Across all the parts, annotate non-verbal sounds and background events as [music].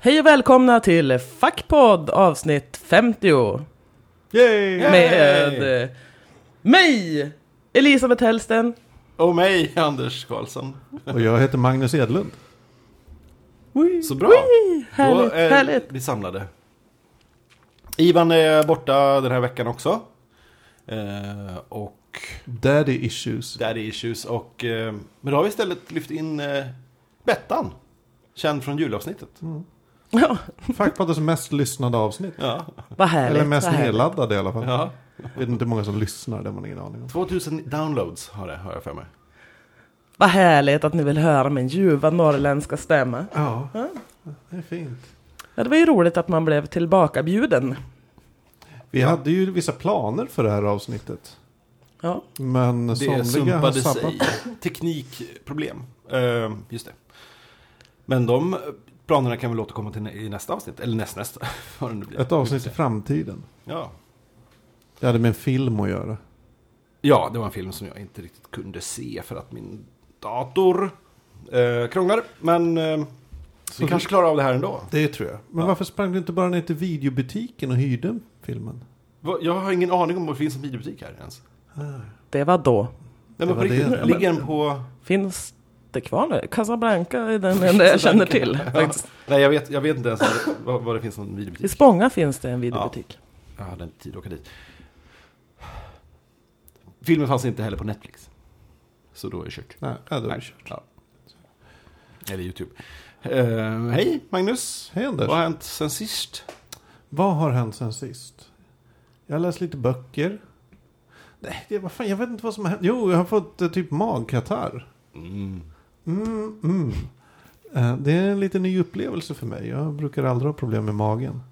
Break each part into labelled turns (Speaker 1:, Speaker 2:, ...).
Speaker 1: Hej och välkomna till Fackpodd avsnitt 50
Speaker 2: Yay!
Speaker 1: med eh, mig, Elisabeth Hellsten.
Speaker 3: Och mig, Anders Karlsson.
Speaker 2: Och jag heter Magnus Edlund.
Speaker 3: [laughs] Så bra.
Speaker 1: Wee! Härligt,
Speaker 3: Då är
Speaker 1: härligt.
Speaker 3: vi samlade. Ivan är borta den här veckan också. Eh, och
Speaker 2: Daddy Issues.
Speaker 3: daddy issues. Och, eh, men då har vi istället lyft in eh, Bettan. Känd från julavsnittet.
Speaker 1: Ja,
Speaker 2: Fackpoddens mest lyssnade avsnitt.
Speaker 3: Ja.
Speaker 1: vad härligt.
Speaker 2: Eller mest
Speaker 1: vad härligt.
Speaker 2: nedladdade i alla fall.
Speaker 3: ja.
Speaker 2: Jag vet inte hur många som lyssnar, det har man ingen aning om.
Speaker 3: 2000 downloads har det, har jag för mig.
Speaker 1: Vad härligt att ni vill höra min ljuva norrländska stämma.
Speaker 2: Ja, det är fint.
Speaker 1: Ja, det var ju roligt att man blev tillbakabjuden.
Speaker 2: Vi hade ju vissa planer för det här avsnittet.
Speaker 1: Ja,
Speaker 2: Men
Speaker 3: Det
Speaker 2: somliga har
Speaker 3: sumpade
Speaker 2: sabbat.
Speaker 3: sig. Teknikproblem. Eh, just det. Men de eh, planerna kan väl återkomma till i nästa avsnitt. Eller nästnästa. [laughs] vad det nu blir.
Speaker 2: Ett avsnitt i framtiden.
Speaker 3: Ja.
Speaker 2: Det hade med en film att göra.
Speaker 3: Ja, det var en film som jag inte riktigt kunde se för att min dator eh, krånglar. Men eh, vi kanske klarar av det här ändå.
Speaker 2: Det tror jag. Men varför sprang du inte bara ner till videobutiken och hyrde filmen?
Speaker 3: Va- Jag har ingen aning om vad det finns en videobutik här ens.
Speaker 1: det var då.
Speaker 3: Nej,
Speaker 2: Det
Speaker 3: men på
Speaker 2: var det.
Speaker 3: riktigt,
Speaker 2: Ja, men-
Speaker 3: ligger den på...
Speaker 1: Finns det kvar nu? Casablanca är den enda jag känner till. faktiskt.
Speaker 3: Nej, jag vet, jag vet inte ens vad det- vad, vad det finns någon
Speaker 1: I
Speaker 3: videobutik.
Speaker 1: Spånga finns det en videobutik.
Speaker 3: Jag hade inte tid att åka dit. Filmen fanns inte heller på Netflix. Så då är det kört.
Speaker 2: Nej, ja, då är det kört.
Speaker 3: Ja. Eller YouTube. Eh, hej Magnus!
Speaker 2: Hej Anders.
Speaker 3: Vad har hänt sen sist?
Speaker 2: Vad har hänt sen sist? Jag har läst lite böcker. Nej, det, vad fan, jag vet inte vad som har hänt. Jo, jag har fått eh, typ magkatarr. Mm, mm. Eh, det är en lite ny upplevelse för mig. Jag brukar aldrig ha problem med magen.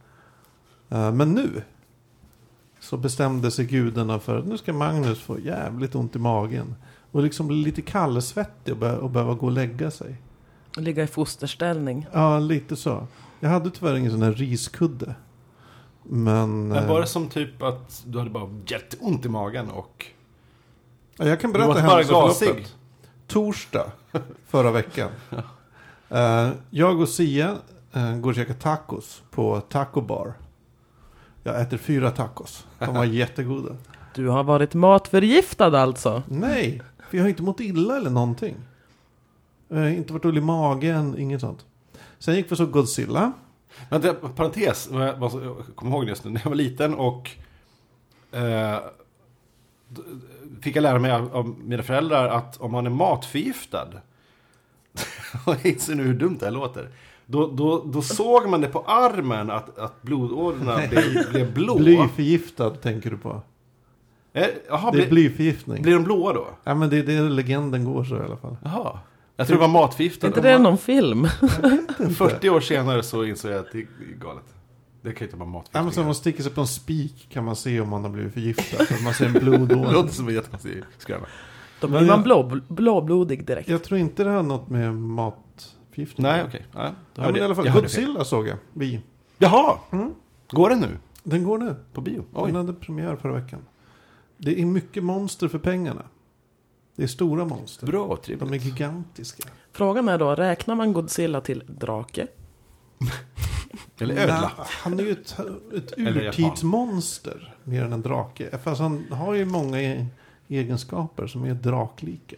Speaker 2: Eh, men nu så bestämde sig gudarna för att nu ska Magnus få jävligt ont i magen. Och liksom bli lite kallsvettig och, bör- och behöva gå och lägga sig.
Speaker 1: Ligga i fosterställning.
Speaker 2: Ja, lite så. Jag hade tyvärr ingen sån här riskudde. Men...
Speaker 3: Men
Speaker 2: eh,
Speaker 3: var det som typ att du hade bara jätteont i magen och...
Speaker 2: Ja, Jag kan
Speaker 3: Du
Speaker 2: berätta
Speaker 3: åt bara gasig.
Speaker 2: händelseförloppet. Torsdag förra [laughs] veckan. Eh, jag och Sia eh, går och käkar tacos på Taco Bar. Jag äter fyra tacos. De [laughs] var jättegoda.
Speaker 1: Du har varit matförgiftad alltså.
Speaker 2: Nej, för jag har inte mått illa eller någonting. Jag har inte varit dålig i magen, inget sånt. Sen gick vi och såg Godzilla.
Speaker 3: Vänta, parentes. vad Jag vad jag kommer ihåg just nu. När jag var liten och... Eh, d- fick jag lära mig av av mina föräldrar att om man är matförgiftad. [laughs] och jag inser nu hur dumt det här låter. Då, då, då såg man det på armen att, att blodådrorna blev, blev blå.
Speaker 2: Blyförgiftad tänker du på.
Speaker 3: Eh, Jaha,
Speaker 2: Det
Speaker 3: blir,
Speaker 2: är blyförgiftning.
Speaker 3: blir de blåa då?
Speaker 2: Ja, men det är det legenden går så i alla fall.
Speaker 3: Jaha. Jag tror det var matförgiftad.
Speaker 1: Är inte det någon film?
Speaker 3: 40 år senare så insåg jag att det är galet. Det kan ju inte vara
Speaker 2: Ja, men så
Speaker 3: matförgiftning.
Speaker 2: om man sticker sig på en spik kan man se om man har blivit förgiftad. För man ser en
Speaker 3: [laughs]
Speaker 2: blodåre. [laughs]
Speaker 3: Det låter som en jättekonstig skröna.
Speaker 1: Då
Speaker 2: Men
Speaker 1: blir
Speaker 2: jag-
Speaker 1: man blå, blåblodig direkt.
Speaker 2: Jag tror inte det har något med matförgiftning
Speaker 3: Nej, okej. Ja, då
Speaker 2: Ja, men
Speaker 3: hörde
Speaker 2: i alla fall,
Speaker 3: jag hörde fel.
Speaker 2: Godzilla Mm. såg jag. Vi.
Speaker 3: Jaha! Går den nu?
Speaker 2: Den går nu.
Speaker 3: På bio?
Speaker 2: Den
Speaker 3: Oj.
Speaker 2: hade premiär förra veckan. Det är mycket monster för pengarna. Det är stora monster.
Speaker 3: Bra,
Speaker 2: De är
Speaker 3: trevligt.
Speaker 2: gigantiska.
Speaker 1: Frågan är då, räknar man Godzilla till drake?
Speaker 3: Eller
Speaker 2: Nej,
Speaker 3: ödla.
Speaker 2: han är ju ett, ett
Speaker 3: Eller japan.
Speaker 2: urtidsmonster mer än en drake. Fast han har ju många e- egenskaper som är draklika.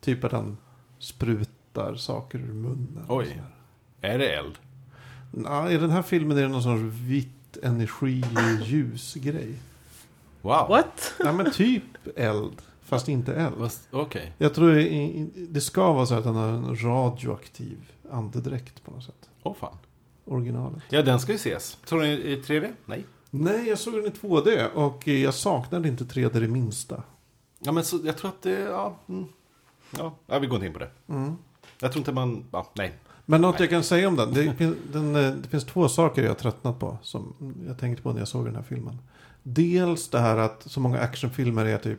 Speaker 2: Typ att han sprutar saker ur munnen. och
Speaker 3: Oj.
Speaker 2: sådär.
Speaker 3: Är det eld?
Speaker 2: Ja, I den här filmen är det någon sorts vitt energi-ljusgrej.
Speaker 3: Wow.
Speaker 1: What?
Speaker 2: Nej men typ eld, fast inte eld.
Speaker 3: Vad- Okej.
Speaker 2: Jag tror i- i- det ska vara så att han har en radioaktiv andedräkt på något sätt.
Speaker 3: Åh fan.
Speaker 2: Originalet.
Speaker 3: Ja, den ska ju ses. Tror ni i 3D? Nej.
Speaker 2: Nej, jag såg den i 2D och eh, jag saknade inte 3D det minsta.
Speaker 3: Ja, men så, jag tror att det... Ja, mm. ja. ja vi går inte in på det.
Speaker 2: Mm.
Speaker 3: Jag tror inte man... Ja, nej.
Speaker 2: Men något jag kan säga om den. Det, fin- den, eh, det finns två saker jag har tröttnat på. Som jag tänkte på när jag såg den här filmen. Dels det här att så många actionfilmer är typ.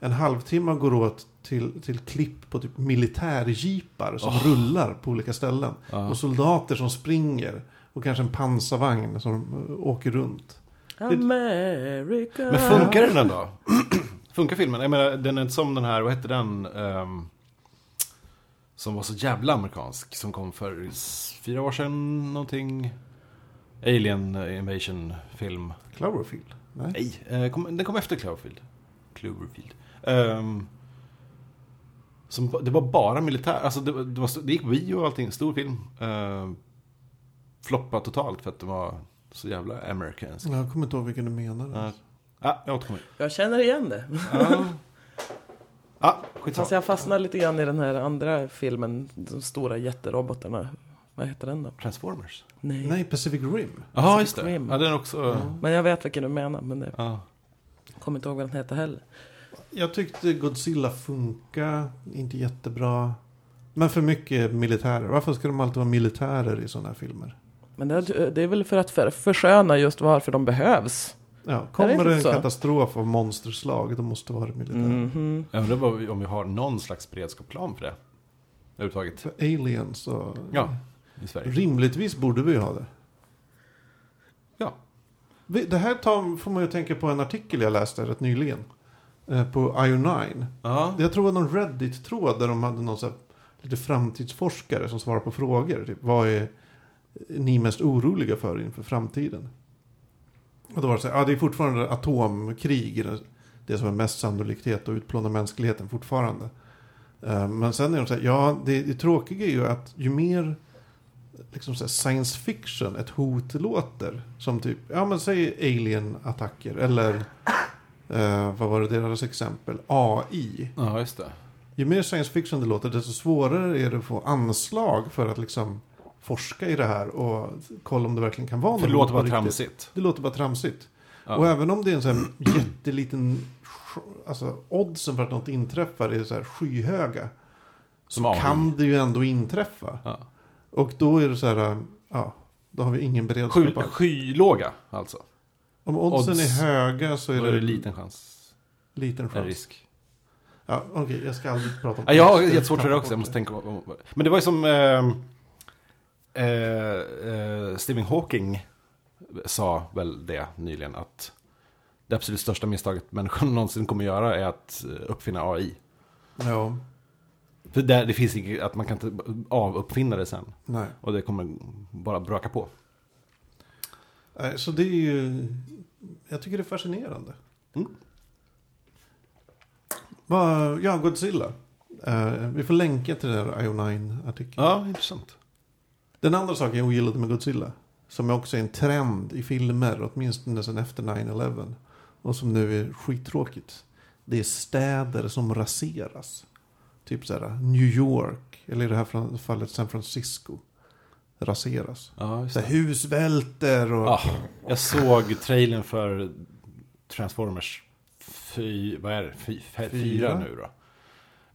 Speaker 2: En halvtimme går åt till, till klipp på typ militärjeepar som rullar på olika ställen. Och soldater som springer. Och kanske en pansarvagn som eh, åker runt.
Speaker 1: America.
Speaker 3: Men funkar den då? funkar filmen? Jag menar, den är inte som den här, vad hette den? ehm, Som var så jävla amerikansk. Som kom för s- fyra år sedan någonting. Alien invasion film.
Speaker 2: Cloverfield? Nej.
Speaker 3: Nej, eh, kom, den kom efter Cloverfield. Cloverfield. Ehm, som, det var bara militär, alltså det, var- det, var, det gick på bio och allting, stor film. Uh, floppade totalt för att den var så jävla amerikansk.
Speaker 2: Jag kommer inte ihåg vilken du menar.
Speaker 3: Ja, ah, jag återkommer.
Speaker 1: Jag känner igen det.
Speaker 3: Ja, ah, skitsamma.
Speaker 1: Fast jag fastnar lite grann i den här andra filmen, de stora jätterobotarna. Vad heter den då?
Speaker 3: Transformers.
Speaker 1: Nej.
Speaker 2: Nej, Pacific Rim.
Speaker 3: Jaha, just det.
Speaker 1: Rim.
Speaker 3: Ja, den också. Ja.
Speaker 1: Men jag vet vilken du menar, men jag kommer inte ihåg vad den heter heller.
Speaker 2: Jag tyckte Godzilla funka, inte jättebra. Men för mycket militärer. Varför ska de alltid vara militärer i sådana här filmer?
Speaker 1: Men det, det är väl för att för, försköna just varför de behövs.
Speaker 2: Ja,
Speaker 1: det är
Speaker 2: kommer
Speaker 1: inte
Speaker 2: det en
Speaker 1: så.
Speaker 2: katastrof av monsterslag, då måste det vara militärer.
Speaker 1: Mhm.
Speaker 3: Jag undrar vad vi- om vi har någon slags beredskapsplan för det. Överhuvudtaget.
Speaker 2: För aliens och...
Speaker 3: Ja, i Sverige.
Speaker 2: Rimligtvis borde vi ha det.
Speaker 3: Ja.
Speaker 2: Vi- Det här tar, får man ju tänka på en artikel jag läste rätt nyligen. eh, På IO9.
Speaker 3: Ja.
Speaker 2: Jag tror det var någon Reddit-tråd där de hade någon så här, lite framtidsforskare som svarade på frågor. Typ, vad är ni mest oroliga för inför framtiden? Och då var det så här, ja det är fortfarande atomkrig. det- Det som är mest sannolikhet att utplåna mänskligheten fortfarande. Eh, Men sen är de så här, ja det, det tråkiga är ju att ju mer liksom så här, science fiction ett hot låter. Som typ, ja men säg alien-attacker eller eh, vad var det deras exempel? AI.
Speaker 3: ja, just det.
Speaker 2: Ju mer science fiction det låter, desto svårare är det att få anslag för att liksom forska i det här och kolla om det verkligen kan vara
Speaker 3: För det
Speaker 2: något
Speaker 3: låter
Speaker 2: på
Speaker 3: bara
Speaker 2: riktigt.
Speaker 3: tramsigt.
Speaker 2: Det låter bara tramsigt.
Speaker 3: Ja.
Speaker 2: Och även om det är en sån här jätteliten, alltså oddsen för att något inträffar är så här skyhöga.
Speaker 3: Som AI.
Speaker 2: Kan det ju ändå inträffa.
Speaker 3: Ja.
Speaker 2: Och då är det så här, ja, då har vi ingen
Speaker 3: Sky,
Speaker 2: beredskap. alls.
Speaker 3: skylåga, alltså.
Speaker 2: Om oddsen
Speaker 3: odds-
Speaker 2: är höga så är
Speaker 3: Då
Speaker 2: det,
Speaker 3: är det liten chans.
Speaker 2: liten
Speaker 3: En
Speaker 2: chans.
Speaker 3: risk.
Speaker 2: Ja, Okej, jag ska aldrig prata om
Speaker 3: Ja, jag har
Speaker 2: odds.
Speaker 3: jättesvårt för det
Speaker 2: Tappa
Speaker 3: också. Jag
Speaker 2: bort
Speaker 3: måste tänka om, om, Men det var ju som eh, eh, eh, Stephen Hawking sa väl det nyligen. Att det absolut största misstaget människan [laughs] någonsin kommer göra är att eh, uppfinna AI.
Speaker 2: Ja,
Speaker 3: För där, det finns inget, att man kan inte avuppfinna det sen.
Speaker 2: nej.
Speaker 3: Och det kommer bara bröka på.
Speaker 2: Nej, Så det är ju... Jag tycker det är fascinerande.
Speaker 3: Mm.
Speaker 2: Vad- Ja, Godzilla. Eh, vi får länka till den här IO9-artikeln.
Speaker 3: Ja, intressant.
Speaker 2: Den andra saken jag ogillade med Godzilla, som också är en trend i filmer, åtminstone sedan efter 9-11, och som nu är skittråkigt, det är städer som raseras. Typ så här New York, eller i det här fallet San Francisco, raseras.
Speaker 3: Ja, just
Speaker 2: Så här,
Speaker 3: det.
Speaker 2: hus välter och...
Speaker 3: Ah, jag såg trailern för Transformers fy, vad är det? Fy, fy, fyra
Speaker 2: Fyra.
Speaker 3: nu då.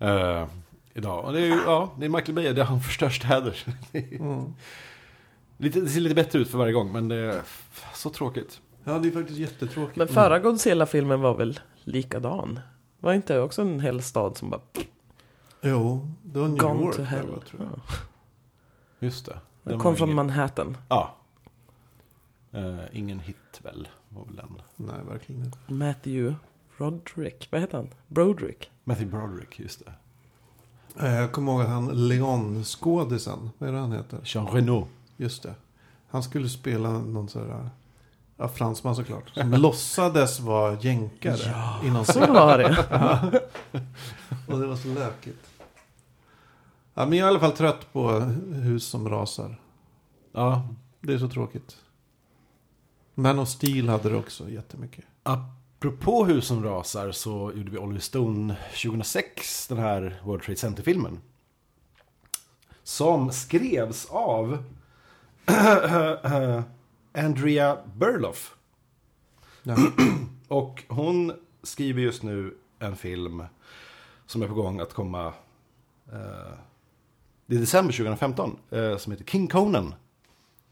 Speaker 3: Eh, idag. Och det är ju, ja, det är Michael Bay, det är han förstör städer.
Speaker 2: Mm.
Speaker 3: [laughs] lite, det ser lite bättre ut för varje gång, men det är f- så tråkigt.
Speaker 2: Ja, det är faktiskt jättetråkigt.
Speaker 1: Men
Speaker 2: Mm.
Speaker 1: förra Godzilla-filmen var väl likadan? Var inte det också en hel stad som bara...
Speaker 2: Jo, det var New
Speaker 1: Gone
Speaker 2: York.
Speaker 1: to
Speaker 2: där,
Speaker 1: hell.
Speaker 2: va, tror jag.
Speaker 3: Just det.
Speaker 1: Den
Speaker 3: Den
Speaker 1: kom
Speaker 3: var
Speaker 1: från
Speaker 3: ingen-
Speaker 1: Manhattan.
Speaker 3: Ja. Eh, ingen hit väl, var väl den.
Speaker 2: Nej, verkligen inte.
Speaker 1: Matthew Roderick. Vad heter han? Broderick.
Speaker 3: Matthew Broderick, just det.
Speaker 2: Eh, Jag kommer ihåg att han Leon-skådisen, vad är det han heter?
Speaker 3: Jean Reno.
Speaker 2: Just det. Han skulle spela någon sån här, ja fransman såklart.
Speaker 1: [laughs]
Speaker 2: Som låtsades vara jänkare i någon [laughs]
Speaker 1: Så
Speaker 2: serie.
Speaker 1: var det.
Speaker 2: Och det var så lökigt. Ja, men jag är i alla fall trött på hus som rasar.
Speaker 3: Ja,
Speaker 2: Det är så tråkigt. Man of Steel hade det också jättemycket.
Speaker 3: Apropå hus som rasar så gjorde vi Oliver Stone 2006, den här World Trade Center-filmen. Som skrevs av [clears throat] Andrea Burloff.
Speaker 1: [clears throat]
Speaker 2: Ja.
Speaker 3: Och hon skriver just nu en film som är på gång att komma eh, det är december 2015, eh, som heter King Conan.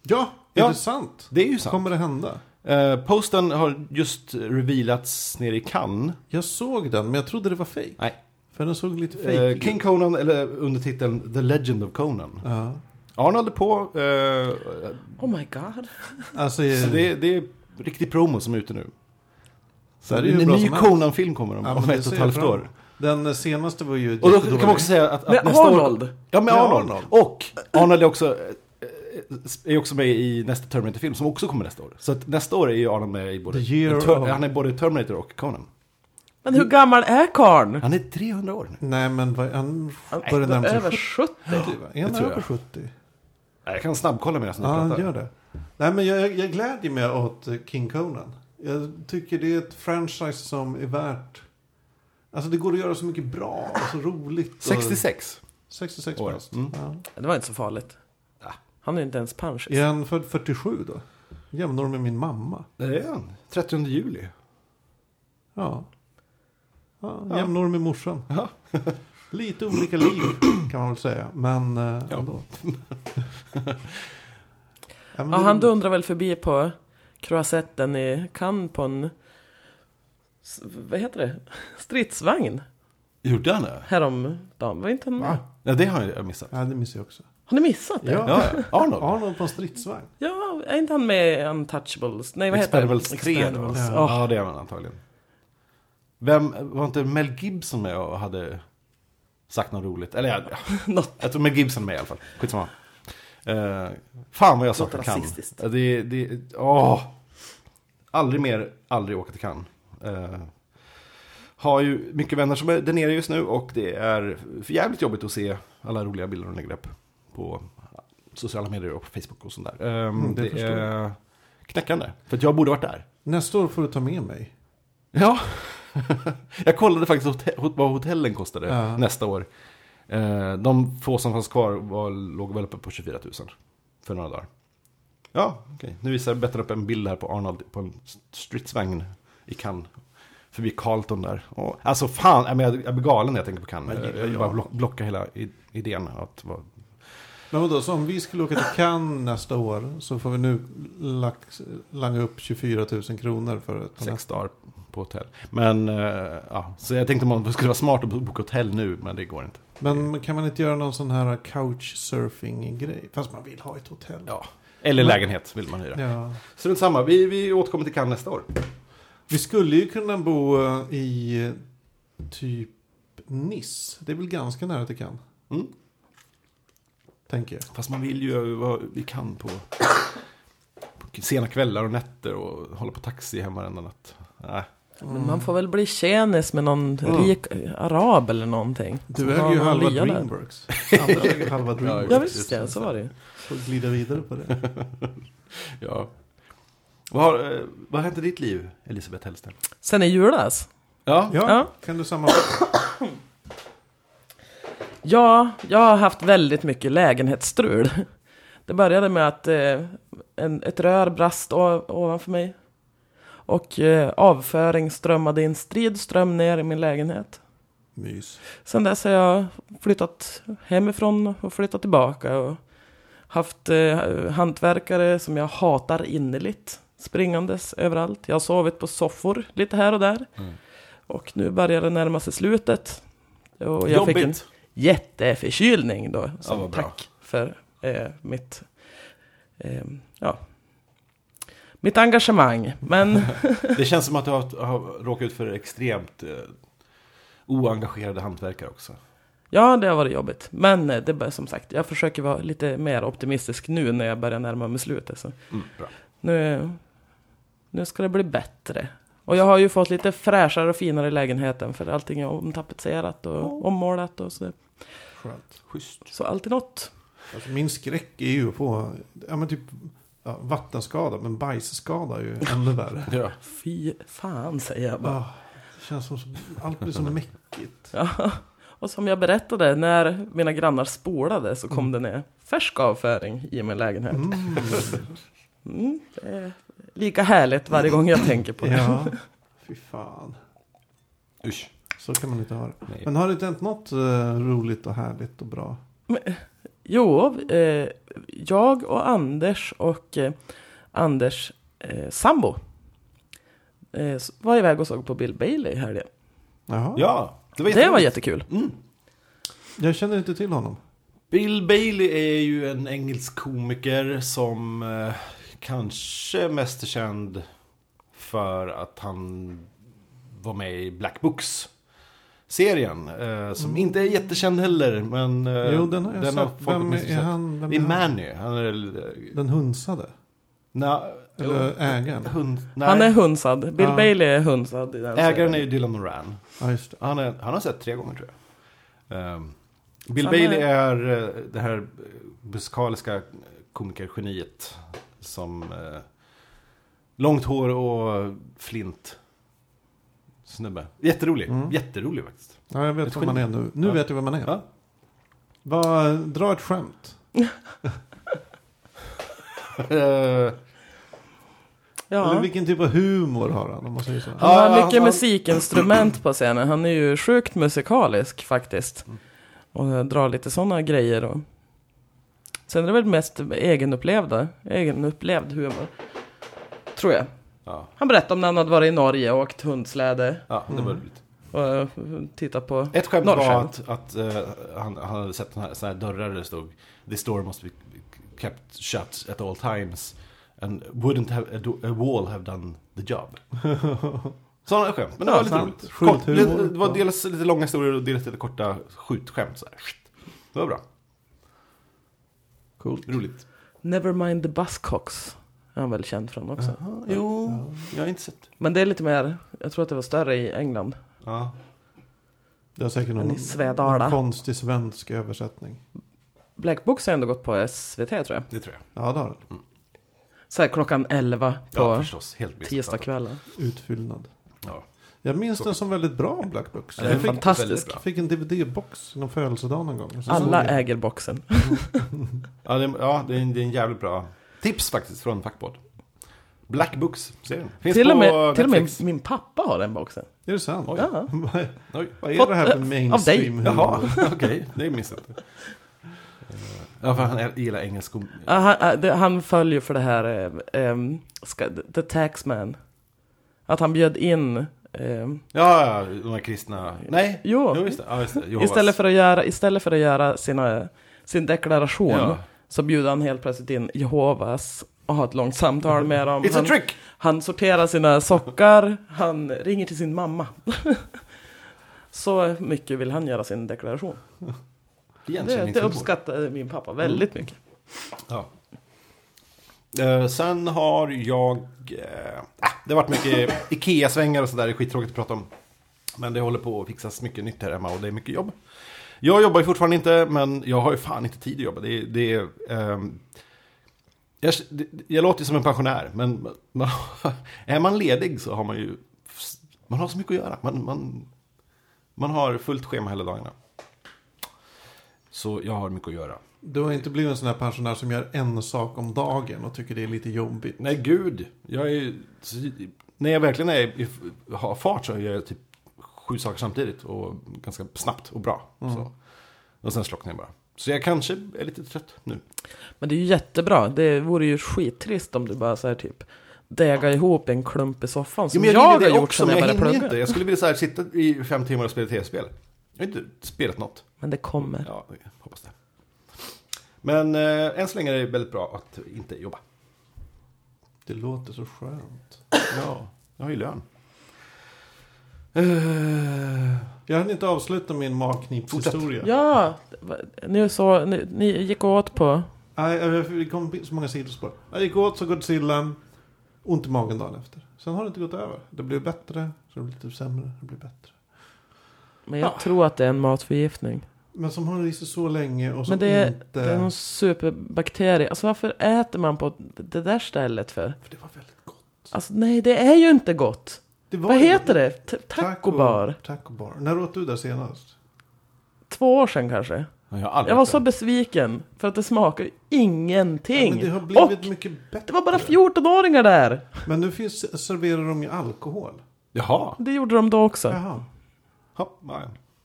Speaker 2: Ja,
Speaker 3: Ja.
Speaker 2: är det sant?
Speaker 3: Det är ju sant.
Speaker 2: Kommer det hända?
Speaker 3: Eh, posten har just revealats nere i Cannes.
Speaker 2: Jag såg den, men jag trodde det var fake.
Speaker 3: Nej,
Speaker 2: För den såg lite fake
Speaker 3: Eh,
Speaker 2: ut.
Speaker 3: King Conan, eller under titeln The Legend of Conan.
Speaker 2: Ja.
Speaker 3: Arnold är på. Eh,
Speaker 1: Oh my god.
Speaker 2: Alltså,
Speaker 3: så det, det är riktig promo som är ute nu.
Speaker 2: så
Speaker 3: Så
Speaker 2: här
Speaker 3: en
Speaker 2: bra
Speaker 3: ny
Speaker 2: som helst.
Speaker 3: Conan-film kommer om,
Speaker 2: Ja, men
Speaker 3: om
Speaker 2: det
Speaker 3: ett och
Speaker 2: ser
Speaker 3: ett halvt
Speaker 2: jag fram
Speaker 3: år.
Speaker 2: emot. Den senaste var ju
Speaker 3: Och då kan
Speaker 2: jättedålig.
Speaker 3: man också säga att, att
Speaker 1: Med
Speaker 3: nästa år-
Speaker 1: Arnold!
Speaker 3: Ja, med
Speaker 2: Med
Speaker 3: Arnold.
Speaker 2: Arnold.
Speaker 3: Och Arnold är också, eh, är också med i nästa Terminator-film som också kommer nästa år. Så att nästa år är ju Arnold med i både,
Speaker 2: The year
Speaker 3: i Ter-
Speaker 2: of-
Speaker 3: han är både Terminator och Conan.
Speaker 1: Men hur gammal är karln?
Speaker 3: Han är 300 år nu.
Speaker 2: Nej men vad, han
Speaker 1: Han
Speaker 2: börjar närma sig
Speaker 1: över
Speaker 2: 70
Speaker 1: 70.
Speaker 2: va? Är han
Speaker 3: tror jag.
Speaker 2: över 70?
Speaker 3: Jag kan snabbkolla medan ni
Speaker 2: Ja, han
Speaker 3: pratar.
Speaker 2: gör det. Nej, men jag, jag glädjer mig åt eh, King Conan. Jag tycker det är ett franchise som är värt... Alltså det går att göra så mycket bra och så roligt. Och
Speaker 3: 66.
Speaker 2: 66
Speaker 3: år.
Speaker 2: bast.
Speaker 3: Mm.
Speaker 2: Ja.
Speaker 1: Det var inte så farligt.
Speaker 3: Ja.
Speaker 1: Han är inte ens punch.
Speaker 2: Är han född 47 då? Jämnår med min mamma.
Speaker 3: Det är han. 30 juli.
Speaker 2: Ja. ja
Speaker 3: Ja.
Speaker 2: jämnår med morsan.
Speaker 3: Ja.
Speaker 2: [laughs] Lite olika liv kan man väl säga. Men eh,
Speaker 3: Ja.
Speaker 2: [laughs] ändå. ja, men
Speaker 1: Ja,
Speaker 2: det-
Speaker 1: han dundrar väl förbi på croissetten i Cannes på en... s- Vad heter det? Stridsvagn.
Speaker 3: Gjorde han det?
Speaker 1: Häromdagen. Var inte han med?
Speaker 3: Ja, det har jag missat.
Speaker 2: Ja, det missar jag också.
Speaker 1: Har ni missat det?
Speaker 2: Ja.
Speaker 3: Ja, ja. Arnold.
Speaker 2: Arnold på en stridsvagn.
Speaker 1: Ja, är inte han med i Untouchables? Nej, vad heter
Speaker 3: Expendables 3 då.
Speaker 1: Expendables.
Speaker 3: Ja.
Speaker 1: Ja.
Speaker 3: det är han antagligen. Vem, var inte Mel Gibson med och hade sagt något roligt? Eller jag,
Speaker 1: [laughs] Något.
Speaker 3: jag tror Mel Gibson är med i alla fall. Skitsamma. Uh, fan vad jag
Speaker 1: Något
Speaker 3: saknar Cannes.
Speaker 1: rasistiskt.
Speaker 3: Eh, Det, det, åh. Aldrig mer, aldrig åka till Cannes. Eh, har ju mycket vänner som är där nere just nu och det är för jävligt jobbigt att se alla roliga bilder de lägger upp på sociala medier och på Facebook och sånt där. Eh,
Speaker 2: Mm, det
Speaker 3: det
Speaker 2: förstår
Speaker 3: är knäckande, för att jag borde varit där.
Speaker 2: Nästa år får du ta med mig.
Speaker 3: Ja, [laughs] jag kollade faktiskt hotell, vad hotellen kostade
Speaker 2: Ja.
Speaker 3: nästa år. Eh, De få som fanns kvar var, låg väl uppe på 24 000 för några dagar. Ja, okej. Nu visar jag bättre upp en bild här på Arnold på en stridsvagn i Cannes. Förbi Carlton där. Och, alltså fan, jag, jag, jag blir galen när jag tänker på Cannes.
Speaker 2: Men
Speaker 3: Jag,
Speaker 2: gillar
Speaker 3: jag vill
Speaker 2: jag.
Speaker 3: bara block, blocka hela i- idén. Att vara,
Speaker 2: Men vadå, så om vi skulle åka till Cannes nästa år så får vi nu lax, langa upp 24 000 kronor för ett
Speaker 3: sex dagar på hotell. Men, eh, ja. Så jag tänkte man skulle vara smart och boka hotell nu, men det går inte.
Speaker 2: Men kan man inte göra någon sån här couchsurfing-grej? Fast man vill ha ett hotell.
Speaker 3: Ja. Eller
Speaker 2: Men-
Speaker 3: lägenhet vill man hyra.
Speaker 2: Ja.
Speaker 3: Strunt samma, vi, vi återkommer till Cannes nästa år.
Speaker 2: Vi skulle ju kunna bo eh, i eh, typ Nice. Det är väl ganska nära till Cannes,
Speaker 3: Mm.
Speaker 2: tänker jag.
Speaker 3: Fast man vill ju vara i Cannes på, på sena kvällar och nätter och hålla på taxi hemma varenda natt. Äh, Nej.
Speaker 1: Men man får väl bli tjänis med någon
Speaker 2: Mm.
Speaker 1: rik arab eller någonting. Som
Speaker 2: Du äger
Speaker 1: har
Speaker 2: ju
Speaker 1: någon
Speaker 2: halva
Speaker 1: lya där.
Speaker 2: Dreamworks. [laughs] Andra äger halva
Speaker 1: Ja
Speaker 2: Dreamworks.
Speaker 1: visst ja, så var det ju.
Speaker 2: Får glida vidare på det.
Speaker 3: Ja. Vad har, eh, vad har hänt i ditt liv, Elisabeth Hellsten?
Speaker 1: Sen i julas.
Speaker 3: Ja.
Speaker 2: Ja,
Speaker 1: Ja.
Speaker 2: kan du sammanfatta?
Speaker 1: Ja, jag har haft väldigt mycket lägenhetsstrul. Det började med att eh, en, ett rör brast o- ovanför mig. Och eh, avföring strömmade i en strid ström ner i min lägenhet.
Speaker 2: Mys.
Speaker 1: Sen dess har jag flyttat hemifrån och flyttat tillbaka och haft eh, hantverkare som jag hatar innerligt springandes överallt. Jag har sovit på soffor lite här och där.
Speaker 3: Mm.
Speaker 1: Och nu börjar det närma sig slutet. Och jag
Speaker 3: Jobbigt.
Speaker 1: fick en jätteförkylning då som
Speaker 3: vad bra.
Speaker 1: tack för eh, mitt, eh, ja, mitt engagemang. Men
Speaker 3: Det känns som att du har, har råkat ut för extremt eh, oengagerade hantverkare också.
Speaker 1: Ja, det har varit jobbigt. Men eh, det, bör- som sagt, jag försöker vara lite mer optimistisk nu när jag börjar närma mig slutet. Så
Speaker 3: Mm, bra.
Speaker 1: nu, nu ska det bli bättre. Och jag har ju fått lite fräschare och finare lägenheten för allting är omtapetserat och ommålat och så.
Speaker 2: Skönt.
Speaker 3: Schysst.
Speaker 1: Så alltid något.
Speaker 2: Alltså, min skräck är ju att få ja, men typ, ja, vattenskada, men bajsskada är ju ännu värre.
Speaker 3: Ja.
Speaker 1: Fy fan säger jag bara.
Speaker 2: Ah, det känns som, så-
Speaker 1: [laughs]
Speaker 2: allt blir så mäckigt.
Speaker 1: Ja. Och som jag berättade, när mina grannar spolade så kom det ner färsk avföring i min lägenhet.
Speaker 2: Mm,
Speaker 1: Mm, det är lika härligt varje gång jag tänker [laughs] på det.
Speaker 2: ja, fy fan.
Speaker 3: Usch.
Speaker 2: Så kan man inte ha det.
Speaker 3: Nej.
Speaker 2: Men har det inte hänt något eh, roligt och härligt och bra?
Speaker 1: Jo, eh, jag och Anders och eh, Anders eh, sambo eh, s- var iväg och såg på Bill Bailey i helgen.
Speaker 2: Jaha,
Speaker 3: Ja, det var
Speaker 1: Det var
Speaker 3: jätteroligt.
Speaker 1: jättekul.
Speaker 3: Mm.
Speaker 2: jag känner inte till honom.
Speaker 3: Bill Bailey är ju en engelsk komiker som eh, kanske är mest är känd för att han var med i Black Books. serien. Eh, som inte är jättekänd heller, men eh,
Speaker 2: Mm. Jo, den har jag sett.
Speaker 3: folk
Speaker 2: vem
Speaker 3: åtminstone
Speaker 2: är han? Vem
Speaker 3: Det är
Speaker 2: han?
Speaker 3: Manny. Han är... eh,
Speaker 2: Den hunsade?
Speaker 3: Na,
Speaker 2: Eller ägaren?
Speaker 3: hund, nej,
Speaker 1: Han är hunsad. Bill
Speaker 2: Ja.
Speaker 1: Bailey är hunsad i den
Speaker 3: ägaren
Speaker 1: serien.
Speaker 3: är ju Dylan Moran.
Speaker 2: Ja, just det.
Speaker 3: Han, är, han har sett tre gånger tror jag. Ehm, Bill
Speaker 1: Samma-
Speaker 3: Bailey är eh, det här eh, musikaliska komikergeniet. Som eh, långt hår och flint. Snubbe. Jätterolig.
Speaker 2: Mm.
Speaker 3: Jätterolig
Speaker 2: [laughs]
Speaker 3: faktiskt.
Speaker 2: Ja, jag vet
Speaker 3: Ett
Speaker 2: vem man är nu. Nu
Speaker 3: Ja.
Speaker 2: vet jag vem man är.
Speaker 3: Ja.
Speaker 2: Vad- dra ett skämt.
Speaker 3: Eh,
Speaker 2: Eller
Speaker 1: Ja.
Speaker 2: vilken typ av humor har han? Om man säger så.
Speaker 1: Han har
Speaker 3: Ja,
Speaker 1: mycket
Speaker 3: han-
Speaker 1: musikinstrument på scenen. Han är ju sjukt musikalisk faktiskt. Och eh, drar lite sådana grejer. Och... Sen är det väl mest egenupplevda, egenupplevd humor. Tror jag.
Speaker 3: ja,
Speaker 1: Han berättade om när han hade varit i Norge och åkt hundsläde
Speaker 3: ja, det var
Speaker 2: Mm.
Speaker 3: roligt.
Speaker 1: och eh, tittat på...
Speaker 3: Ett skämt var
Speaker 1: Norrskämt.
Speaker 3: att, att eh, han, han hade sett såna här, såna här dörrar där det stod This door must be kept shut at all times And wouldn't have, a, do- a wall have done the job Sådana skämt, men det
Speaker 1: Ja,
Speaker 3: var lite
Speaker 2: sant.
Speaker 3: roligt
Speaker 2: Sjukt
Speaker 3: Kort, det,
Speaker 2: humor.
Speaker 3: det var dels lite långa historier och dels lite korta skjutskämt så här. Det var bra,
Speaker 2: Coolt.
Speaker 3: roligt
Speaker 1: Nevermind the Buzzcocks är han väl känd från också.
Speaker 3: Jo, jag har inte sett
Speaker 1: Men det är lite mer, jag tror att det var större i England.
Speaker 3: ja.
Speaker 2: Det har säkert
Speaker 1: Han är
Speaker 2: någon,
Speaker 1: i Svedala.
Speaker 2: någon konstig svensk översättning.
Speaker 1: Black Box har ändå gått på SVT tror jag.
Speaker 3: Det tror jag,
Speaker 2: Ja, det har den.
Speaker 1: Så här klockan 11
Speaker 3: ja
Speaker 1: på
Speaker 3: förstås, helt missuppfattat.
Speaker 1: tisdagskvällen.
Speaker 2: Utfyllnad.
Speaker 3: ja.
Speaker 2: Jag minns den som väldigt bra, Black Books.
Speaker 1: Den är
Speaker 2: Jag fick,
Speaker 1: fantastisk.
Speaker 3: väldigt bra.
Speaker 2: fick en DVD-box någon födelsedag någon gång. Så
Speaker 1: Alla
Speaker 2: såg jag.
Speaker 1: äger boxen.
Speaker 3: Ja, det, ja det, är en, det är en jävligt bra tips faktiskt från Fackpodd. Black Books, serien. Finns
Speaker 1: Till
Speaker 3: på
Speaker 1: och, med, till och med
Speaker 3: Netflix.
Speaker 1: min pappa har den boxen.
Speaker 2: Är det sant?
Speaker 3: Oj.
Speaker 1: Ja.
Speaker 2: Vad-
Speaker 3: Oj,
Speaker 2: Vad är
Speaker 1: Fått- eh,
Speaker 2: det här för
Speaker 1: av dig.
Speaker 2: mainstream
Speaker 1: Mm.
Speaker 2: humor?
Speaker 3: Jaha, [laughs] okej. Det missade jag. inte. Ja, för han gillar engelsk kom-
Speaker 1: Ja, han, ah, det- han följer för det här eh, ehm, ska, The Taxman. Att han bjöd in ehm,
Speaker 3: Ja, ja, de här kristna... Nej,
Speaker 1: Jo.
Speaker 3: just det. Ja, just det. Jehovas.
Speaker 1: Istället för att göra, istället för att göra sina, sin deklaration
Speaker 3: Ja.
Speaker 1: så bjuder han helt plötsligt in Jehovas och har ett långt samtal med dem.
Speaker 3: Mm. It's a
Speaker 1: Han,
Speaker 3: trick!
Speaker 1: han sorterar sina sockar, han ringer till sin mamma. [laughs] så mycket vill han göra sin deklaration. Det, det
Speaker 3: Igenkänningshumor.
Speaker 1: uppskattar min pappa
Speaker 3: Mm.
Speaker 1: väldigt mycket.
Speaker 3: Ja. Eh, sen har jag... eh, ah, det har varit mycket Ikea-svängar och sådär. Det är skittråkigt att prata om. Men det håller på att fixas mycket nytt här hemma och det är mycket jobb. Jag jobbar ju fortfarande inte, men jag har ju fan inte tid att jobba. Det, är- det, är, ehm, jag, det, jag låter ju som en pensionär, men [laughs] man, är man ledig så har man ju... Man har så mycket att göra. Man, man, man har fullt schema hela dagarna. Så jag har mycket att göra.
Speaker 2: Du har inte blivit en sån här pensionär som gör en sak om dagen och tycker det är lite jobbigt.
Speaker 3: Nej, gud. Jag är, ju- när jag verkligen är, i- har fart så gör jag typ sju saker samtidigt. Och ganska snabbt och bra.
Speaker 1: Mm.
Speaker 3: Så. Och sen slocknar jag bara. Så jag kanske är lite trött nu.
Speaker 1: Men det är ju jättebra. Det vore ju skittrist om du bara så här typ degar ihop en klump i soffan som
Speaker 3: Jo, men
Speaker 1: jag,
Speaker 3: vill det
Speaker 1: har gjort
Speaker 3: också,
Speaker 1: sen
Speaker 3: men
Speaker 1: jag började
Speaker 3: hinner
Speaker 1: plugga.
Speaker 3: inte. Jag skulle vilja så här, sitta i fem timmar och spela tv-spel. Jag har inte spelat något.
Speaker 1: Men det kommer.
Speaker 3: Ja, jag hoppas det. Men eh, än så länge är det väldigt bra att inte jobba.
Speaker 2: Det låter så skönt.
Speaker 3: Ja, jag har ju lön. Eh,
Speaker 2: Jag hann inte avsluta min magknipshistoria.
Speaker 1: Ja, ni, så, ni, ni gick åt på...
Speaker 2: Nej, jag- Det kom så många sidospår. Jag gick åt så Godzilla, ont i magen dagen efter. Sen har det inte gått över. Det blev bättre, så det blev typ sämre, det blev bättre.
Speaker 1: Men jag tror att det är en matförgiftning.
Speaker 2: Men som har det i sig så länge och som
Speaker 1: Men det är,
Speaker 2: inte...
Speaker 1: det är någon superbakterie. Alltså varför äter man på det där stället för?
Speaker 2: För det var väldigt gott.
Speaker 1: Alltså nej, det är ju inte gott.
Speaker 2: Det var
Speaker 1: Vad
Speaker 2: ju-
Speaker 1: heter det? T- Taco bar?
Speaker 2: Taco bar. När åt du där senast?
Speaker 1: Två år sedan kanske.
Speaker 3: jag har aldrig
Speaker 1: Jag var
Speaker 3: haft
Speaker 1: så
Speaker 3: det.
Speaker 1: besviken för att det smakar ju
Speaker 2: men
Speaker 1: ingenting.
Speaker 2: det har
Speaker 1: Och
Speaker 2: blivit mycket bättre.
Speaker 1: det var bara 14-åringar där.
Speaker 2: Men nu finns, serverar de ju alkohol.
Speaker 3: Jaha.
Speaker 1: Det gjorde de då också.
Speaker 2: Jaha.
Speaker 3: Ja, nej.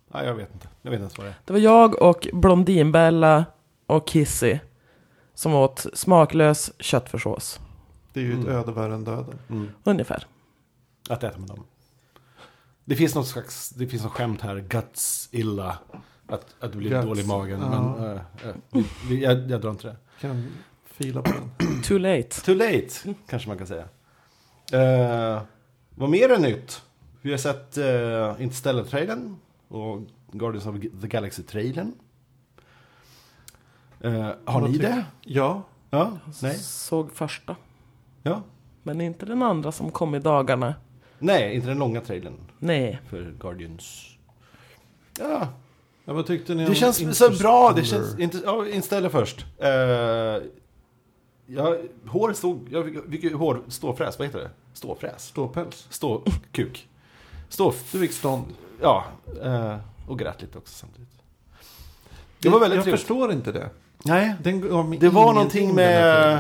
Speaker 3: nej, jag vet inte. Jag vet inte ens vad det är.
Speaker 1: Det var jag och Blondinbella och Kissy som åt smaklös köttfärssås.
Speaker 2: Det är ju ett
Speaker 3: Mm.
Speaker 2: öde värre än döden.
Speaker 1: Ungefär.
Speaker 3: Att äta med dem. Det finns något slags, det finns något skämt här, guts illa. Att, att du blir
Speaker 2: Guts,
Speaker 3: dålig i magen.
Speaker 2: ja.
Speaker 3: Men eh, eh, vi- vi- jag, jag drar inte det.
Speaker 2: Kan fila på den.
Speaker 1: Too late.
Speaker 3: Too late, kanske man kan säga. Eh, vad mer är nytt? Vi har sett uh, eh, Interstellar-trailern. Och Guardians of the Galaxy-trailern. Eh, [clears throat] har
Speaker 2: Vad
Speaker 3: ni
Speaker 2: tycker-
Speaker 3: det?
Speaker 2: Ja.
Speaker 3: Ja? Nej?
Speaker 1: Såg första.
Speaker 3: Ja?
Speaker 1: Men inte den andra som kom i dagarna.
Speaker 3: Nej, inte den långa trailern
Speaker 1: Nej.
Speaker 3: för Guardians. Ja,
Speaker 2: ja. Vad tyckte ni om
Speaker 3: det känns så
Speaker 2: Interstellar?
Speaker 3: bra. Det känns... Inte, ja, inställa först. Eh, ja, hår stod... Jag fick, fick ju hår... Ståfräs, vad heter det? Ståfräs?
Speaker 2: Ståpäls.
Speaker 3: Ståkuk. Stå...
Speaker 2: Du fick stånd.
Speaker 3: Ja, eh, och grät lite också samtidigt. Det var väldigt
Speaker 2: Jag
Speaker 3: trevligt.
Speaker 2: förstår inte det.
Speaker 3: Nej,
Speaker 2: Den gav mig
Speaker 3: det var
Speaker 2: ingenting,
Speaker 3: någonting
Speaker 2: den här
Speaker 3: med...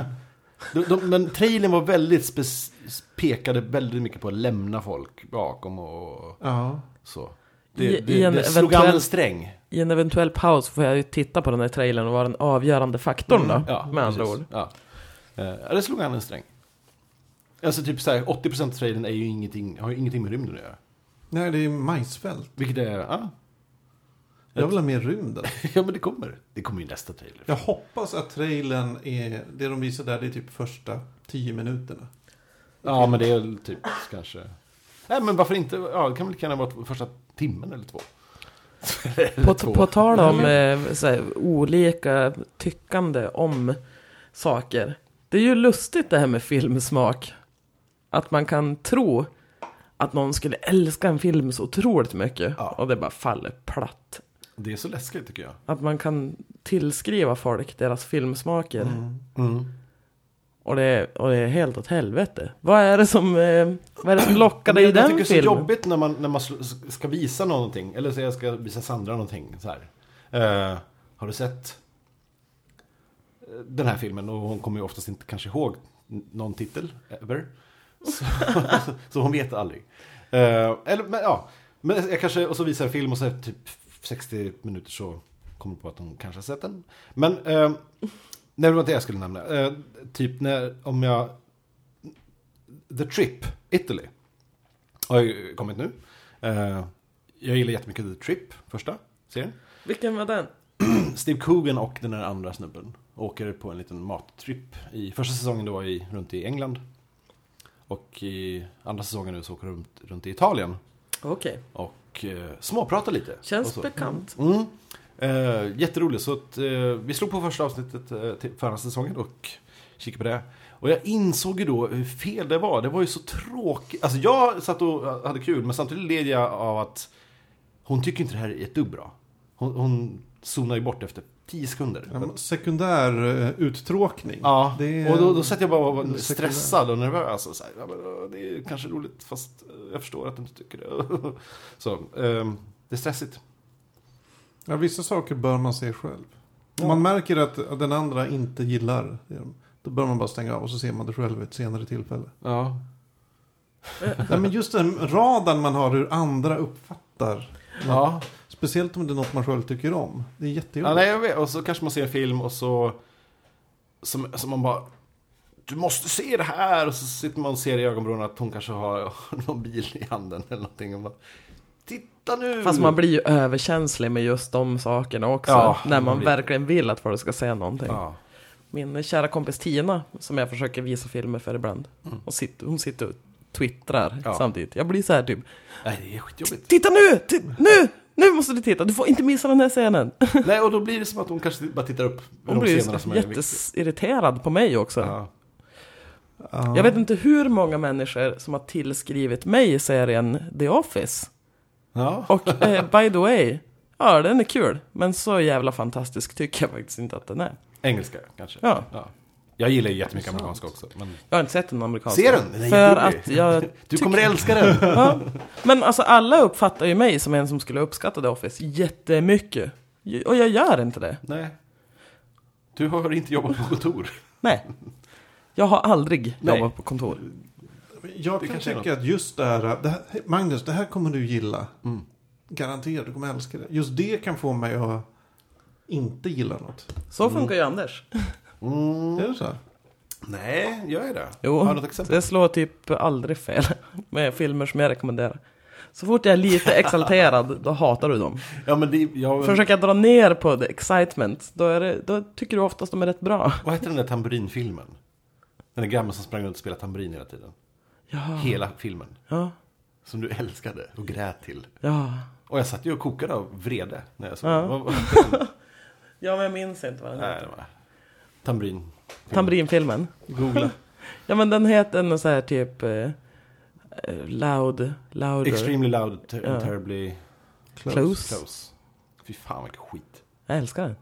Speaker 2: filmen.
Speaker 3: De, de, men trailern var väldigt spec- pekade väldigt mycket på att lämna folk bakom och
Speaker 2: Ja.
Speaker 3: så.
Speaker 1: I-
Speaker 3: Det,
Speaker 1: i
Speaker 3: det,
Speaker 1: en
Speaker 3: det slog an en
Speaker 1: eventuell-
Speaker 3: sträng.
Speaker 1: I en eventuell paus får jag ju titta på den här trailern och vara den avgörande faktorn då.
Speaker 3: Mm. Ja,
Speaker 1: med andra
Speaker 3: precis.
Speaker 1: ord.
Speaker 3: Ja. Eh, Ja, det slog an en sträng. Alltså typ såhär, 80% av trailern är ju ingenting, har ju ingenting med rymden att göra.
Speaker 2: Nej, det är majsfält.
Speaker 3: Vilket är, ja. [laughs]
Speaker 2: Jag vill ha mer rymden.
Speaker 3: ja men det kommer. Det kommer ju nästa trailer.
Speaker 2: Jag hoppas att trailern är... Det de visar där, det är typ första tio minuterna.
Speaker 3: Ja, men det är väl typ kanske... Nej, men varför inte? Ja, det kan väl lika gärna vara t- första timmen eller två. Eller
Speaker 1: På,
Speaker 3: två. Mm.
Speaker 1: på tal om eh, så här, olika tyckande om saker. Det är ju lustigt det här med filmsmak. Att man kan tro att någon skulle älska en film så otroligt mycket.
Speaker 3: Ja.
Speaker 1: Och det bara faller platt.
Speaker 3: Det är så läskigt tycker jag.
Speaker 1: Att man kan tillskriva folk deras filmsmaker.
Speaker 3: Mm.
Speaker 1: Och, det, och det är helt åt helvete. Vad är det som, eh, vad är det som lockar dig i
Speaker 3: jag
Speaker 1: den
Speaker 3: tycker
Speaker 1: filmen?
Speaker 3: det är så jobbigt när man, när man sl- ska visa någonting. Eller så jag ska visa Sandra någonting. Så här. Eh, har du sett eh, den här filmen? Och hon kommer ju oftast inte kanske ihåg n- någon titel. Ever. [laughs] Så, så hon vet aldrig. Eh, eller men ja. Men jag kanske, och så visar jag en film och så här, typ 60 minuter så kommer jag på att hon kanske har sett den. Men eh, nej, det var inte det jag skulle nämna. Eh, typ när, om jag... The Trip, Italy har ju kommit nu. Eh, jag gillar jättemycket The Trip, första serien.
Speaker 1: Vilken var den?
Speaker 3: Steve Coogan och den här andra snubben åker på en liten mattripp. I första säsongen då i, runt i England. Och i andra säsongen nu så åker de runt, runt i Italien.
Speaker 1: Okej.
Speaker 3: Och eh, småpratar lite. och
Speaker 1: Känns
Speaker 3: så.
Speaker 1: bekant.
Speaker 3: Mm. Eh, jätteroligt. Så att, eh, vi slog på första avsnittet eh, till förra säsongen och kikade på det. Och jag insåg ju då hur fel det var. Det var ju så tråkigt. Alltså jag satt och hade kul men samtidigt led jag av att hon tycker inte det här är ett dugg bra. Hon, hon zonar ju bort efter tio sekunder.
Speaker 2: Ja, men Sekundär eh, uttråkning.
Speaker 3: Ja,
Speaker 2: Det är-
Speaker 3: och då, då satt jag bara och var
Speaker 2: det är sekundär.
Speaker 3: stressad och nervös. Och så här, ja, men, äh, det är kanske roligt fast äh, jag förstår att du inte tycker det. [laughs] så, ehm, det är stressigt.
Speaker 2: Ja, vissa saker bör man se själv. Om man märker att att den andra inte gillar det, då bör man bara stänga av och så ser man det själv vid ett senare
Speaker 3: [laughs]
Speaker 2: tillfälle.
Speaker 3: Ja.
Speaker 2: Nej, men just den radan man har hur andra uppfattar.
Speaker 3: ja.
Speaker 2: Speciellt om det är något man själv tycker om. Det är jättejobbigt.
Speaker 3: Ja, nej, jag vet. Och så kanske man ser en film och så... Som, som man bara... Du måste se det här! Och så sitter man och ser i ögonbrån att hon kanske har [laughs] någon bil i handen eller någonting. Och bara, Titta nu!
Speaker 1: Fast man blir ju överkänslig med just de sakerna också.
Speaker 3: Ja,
Speaker 1: när
Speaker 3: man
Speaker 1: man
Speaker 3: blir-
Speaker 1: verkligen vill att folk ska säga någonting.
Speaker 3: Ja.
Speaker 1: Min kära kompis Tina, som jag försöker visa filmer för ibland. Och sit, hon sitter och twittrar
Speaker 3: Mm. Ja.
Speaker 1: samtidigt. Jag blir så här typ.
Speaker 3: Nej, det är skitjobbigt.
Speaker 1: Titta nu! Ti- nu! Nu måste du titta! Du får inte missa den här scenen!
Speaker 3: nej, och då blir det som att hon kanske bara tittar upp.
Speaker 1: Hon blir
Speaker 3: scenerna
Speaker 1: ju
Speaker 3: som är viktiga.
Speaker 1: jätteirriterad på mig också.
Speaker 3: Ja.
Speaker 2: Ja.
Speaker 1: Jag vet inte hur många människor som har tillskrivit mig serien The Office.
Speaker 3: Ja.
Speaker 1: Och eh,
Speaker 3: [laughs]
Speaker 1: by the way, ja den är kul. Men så jävla fantastisk tycker jag faktiskt inte att den är.
Speaker 3: Engelska, kanske.
Speaker 1: Ja.
Speaker 3: Jag gillar ju jättemycket amerikanska också. Men...
Speaker 1: Jag har inte sett den amerikanska.
Speaker 3: Ser den? Den är
Speaker 1: För
Speaker 3: jätterolig.
Speaker 1: att jag
Speaker 3: [laughs] Du kommer
Speaker 1: [laughs]
Speaker 3: älska den!
Speaker 1: ja. Men alltså alla uppfattar ju mig som en som skulle uppskatta The Office jättemycket. J- Och jag gör inte det.
Speaker 3: nej. Du har inte jobbat på kontor.
Speaker 1: Nej. Jag har aldrig
Speaker 3: Nej.
Speaker 1: jobbat på kontor.
Speaker 2: Jag kan
Speaker 3: kanske är
Speaker 2: tycka att just det här, det här, Magnus, det här kommer du gilla.
Speaker 3: Mm.
Speaker 2: Garanterat, du kommer älska det. Just det kan få mig att inte gilla något.
Speaker 1: Så
Speaker 3: Mm.
Speaker 1: funkar ju Anders.
Speaker 2: Är det så? här?
Speaker 3: Nej, gör jag det?
Speaker 1: Jo,
Speaker 3: Har du något exempel?
Speaker 1: det slår typ aldrig fel [laughs] med filmer som jag rekommenderar. Så fort jag är lite
Speaker 3: [laughs]
Speaker 1: exalterad, då hatar du dem.
Speaker 3: Ja, men det, jag,
Speaker 1: Försöker jag dra ner på the excitement, då, är det, då tycker du oftast de är rätt bra.
Speaker 3: Vad hette den där tamburinfilmen? Den där grabben som sprang runt och spelade tamburin hela tiden.
Speaker 1: Ja,
Speaker 3: Hela filmen.
Speaker 1: ja,
Speaker 3: Som du älskade och grät till.
Speaker 1: ja.
Speaker 3: Och jag satt ju och kokade av vrede. När jag såg
Speaker 1: Ja.
Speaker 3: den. Vad- vad-
Speaker 1: Ja, men jag minns inte vad den
Speaker 3: Nej,
Speaker 1: heter.
Speaker 3: det var... Tambrin.
Speaker 1: Tambrinfilmen.
Speaker 3: Googla.
Speaker 1: Ja, men den heter något så här typ... Eh, eh, loud, louder.
Speaker 3: Extremely loud ter-
Speaker 1: Ja.
Speaker 3: and terribly
Speaker 1: Close.
Speaker 3: close. Fy fan vilken skit.
Speaker 1: Jag älskar
Speaker 3: [laughs]
Speaker 1: den.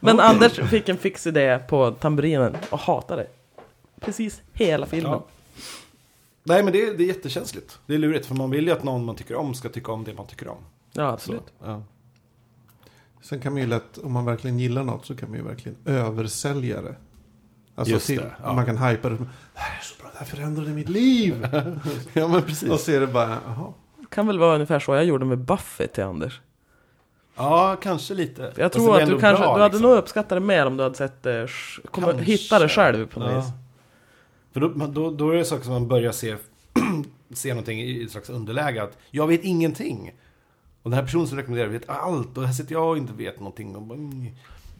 Speaker 1: men
Speaker 3: Okej.
Speaker 1: Anders fick en fix idé på tamburinen och hatar det. Precis hela filmen.
Speaker 3: Ja. Nej men det är, det är jättekänsligt. Det är lurigt för man vill ju att någon man tycker om ska tycka om det man tycker om.
Speaker 1: Ja,
Speaker 3: Så,
Speaker 1: absolut.
Speaker 3: ja.
Speaker 2: Sen kan man ju lätt, om man verkligen gillar något så kan man ju verkligen översälja det. Alltså
Speaker 3: Just
Speaker 2: till,
Speaker 3: det, ja.
Speaker 2: man kan hypa det. Det här är så bra, det här förändrade mitt liv.
Speaker 3: ja men [laughs]
Speaker 2: och
Speaker 3: precis.
Speaker 2: så är det bara, jaha.
Speaker 1: Kan väl vara ungefär så jag gjorde med Buffy till Anders.
Speaker 3: Ja kanske lite.
Speaker 1: Jag
Speaker 3: Fast
Speaker 1: tror
Speaker 3: det är
Speaker 1: att du
Speaker 3: ändå
Speaker 1: kanske,
Speaker 3: bra,
Speaker 1: du hade
Speaker 3: liksom.
Speaker 1: nog uppskattat det mer om du hade sett det, sh- kom,
Speaker 3: Kanske.
Speaker 1: hitta det själv på något
Speaker 3: Ja.
Speaker 1: vis.
Speaker 3: För då, man- då, då är det saker som man börjar se, [clears throat] se någonting i ett slags underläge. Att jag vet ingenting. Och den här personen som rekommenderar vet allt. Och här sitter jag och inte vet någonting. Och bara, mm.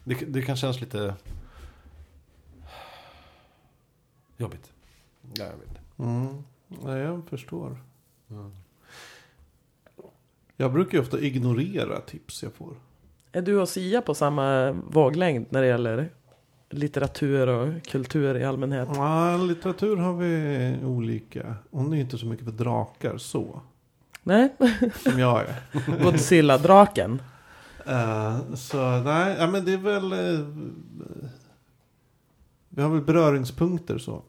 Speaker 3: det, det kan kännas lite [sighs] jobbigt. Ja, jag vet. inte.
Speaker 2: Mm. Nej, jag förstår. Jag brukar ju ofta ignorera tips jag får.
Speaker 1: Är du och Sia på samma våglängd när det gäller litteratur och kultur i allmänhet?
Speaker 3: Mm.
Speaker 2: Ja, litteratur har vi olika. Hon är inte så mycket för drakar så.
Speaker 1: Nej,
Speaker 3: [laughs]
Speaker 2: Som jag är.
Speaker 1: Godzilla-draken.
Speaker 2: Eh, så nej, ja, men det är väl... eh, vi har väl beröringspunkter så.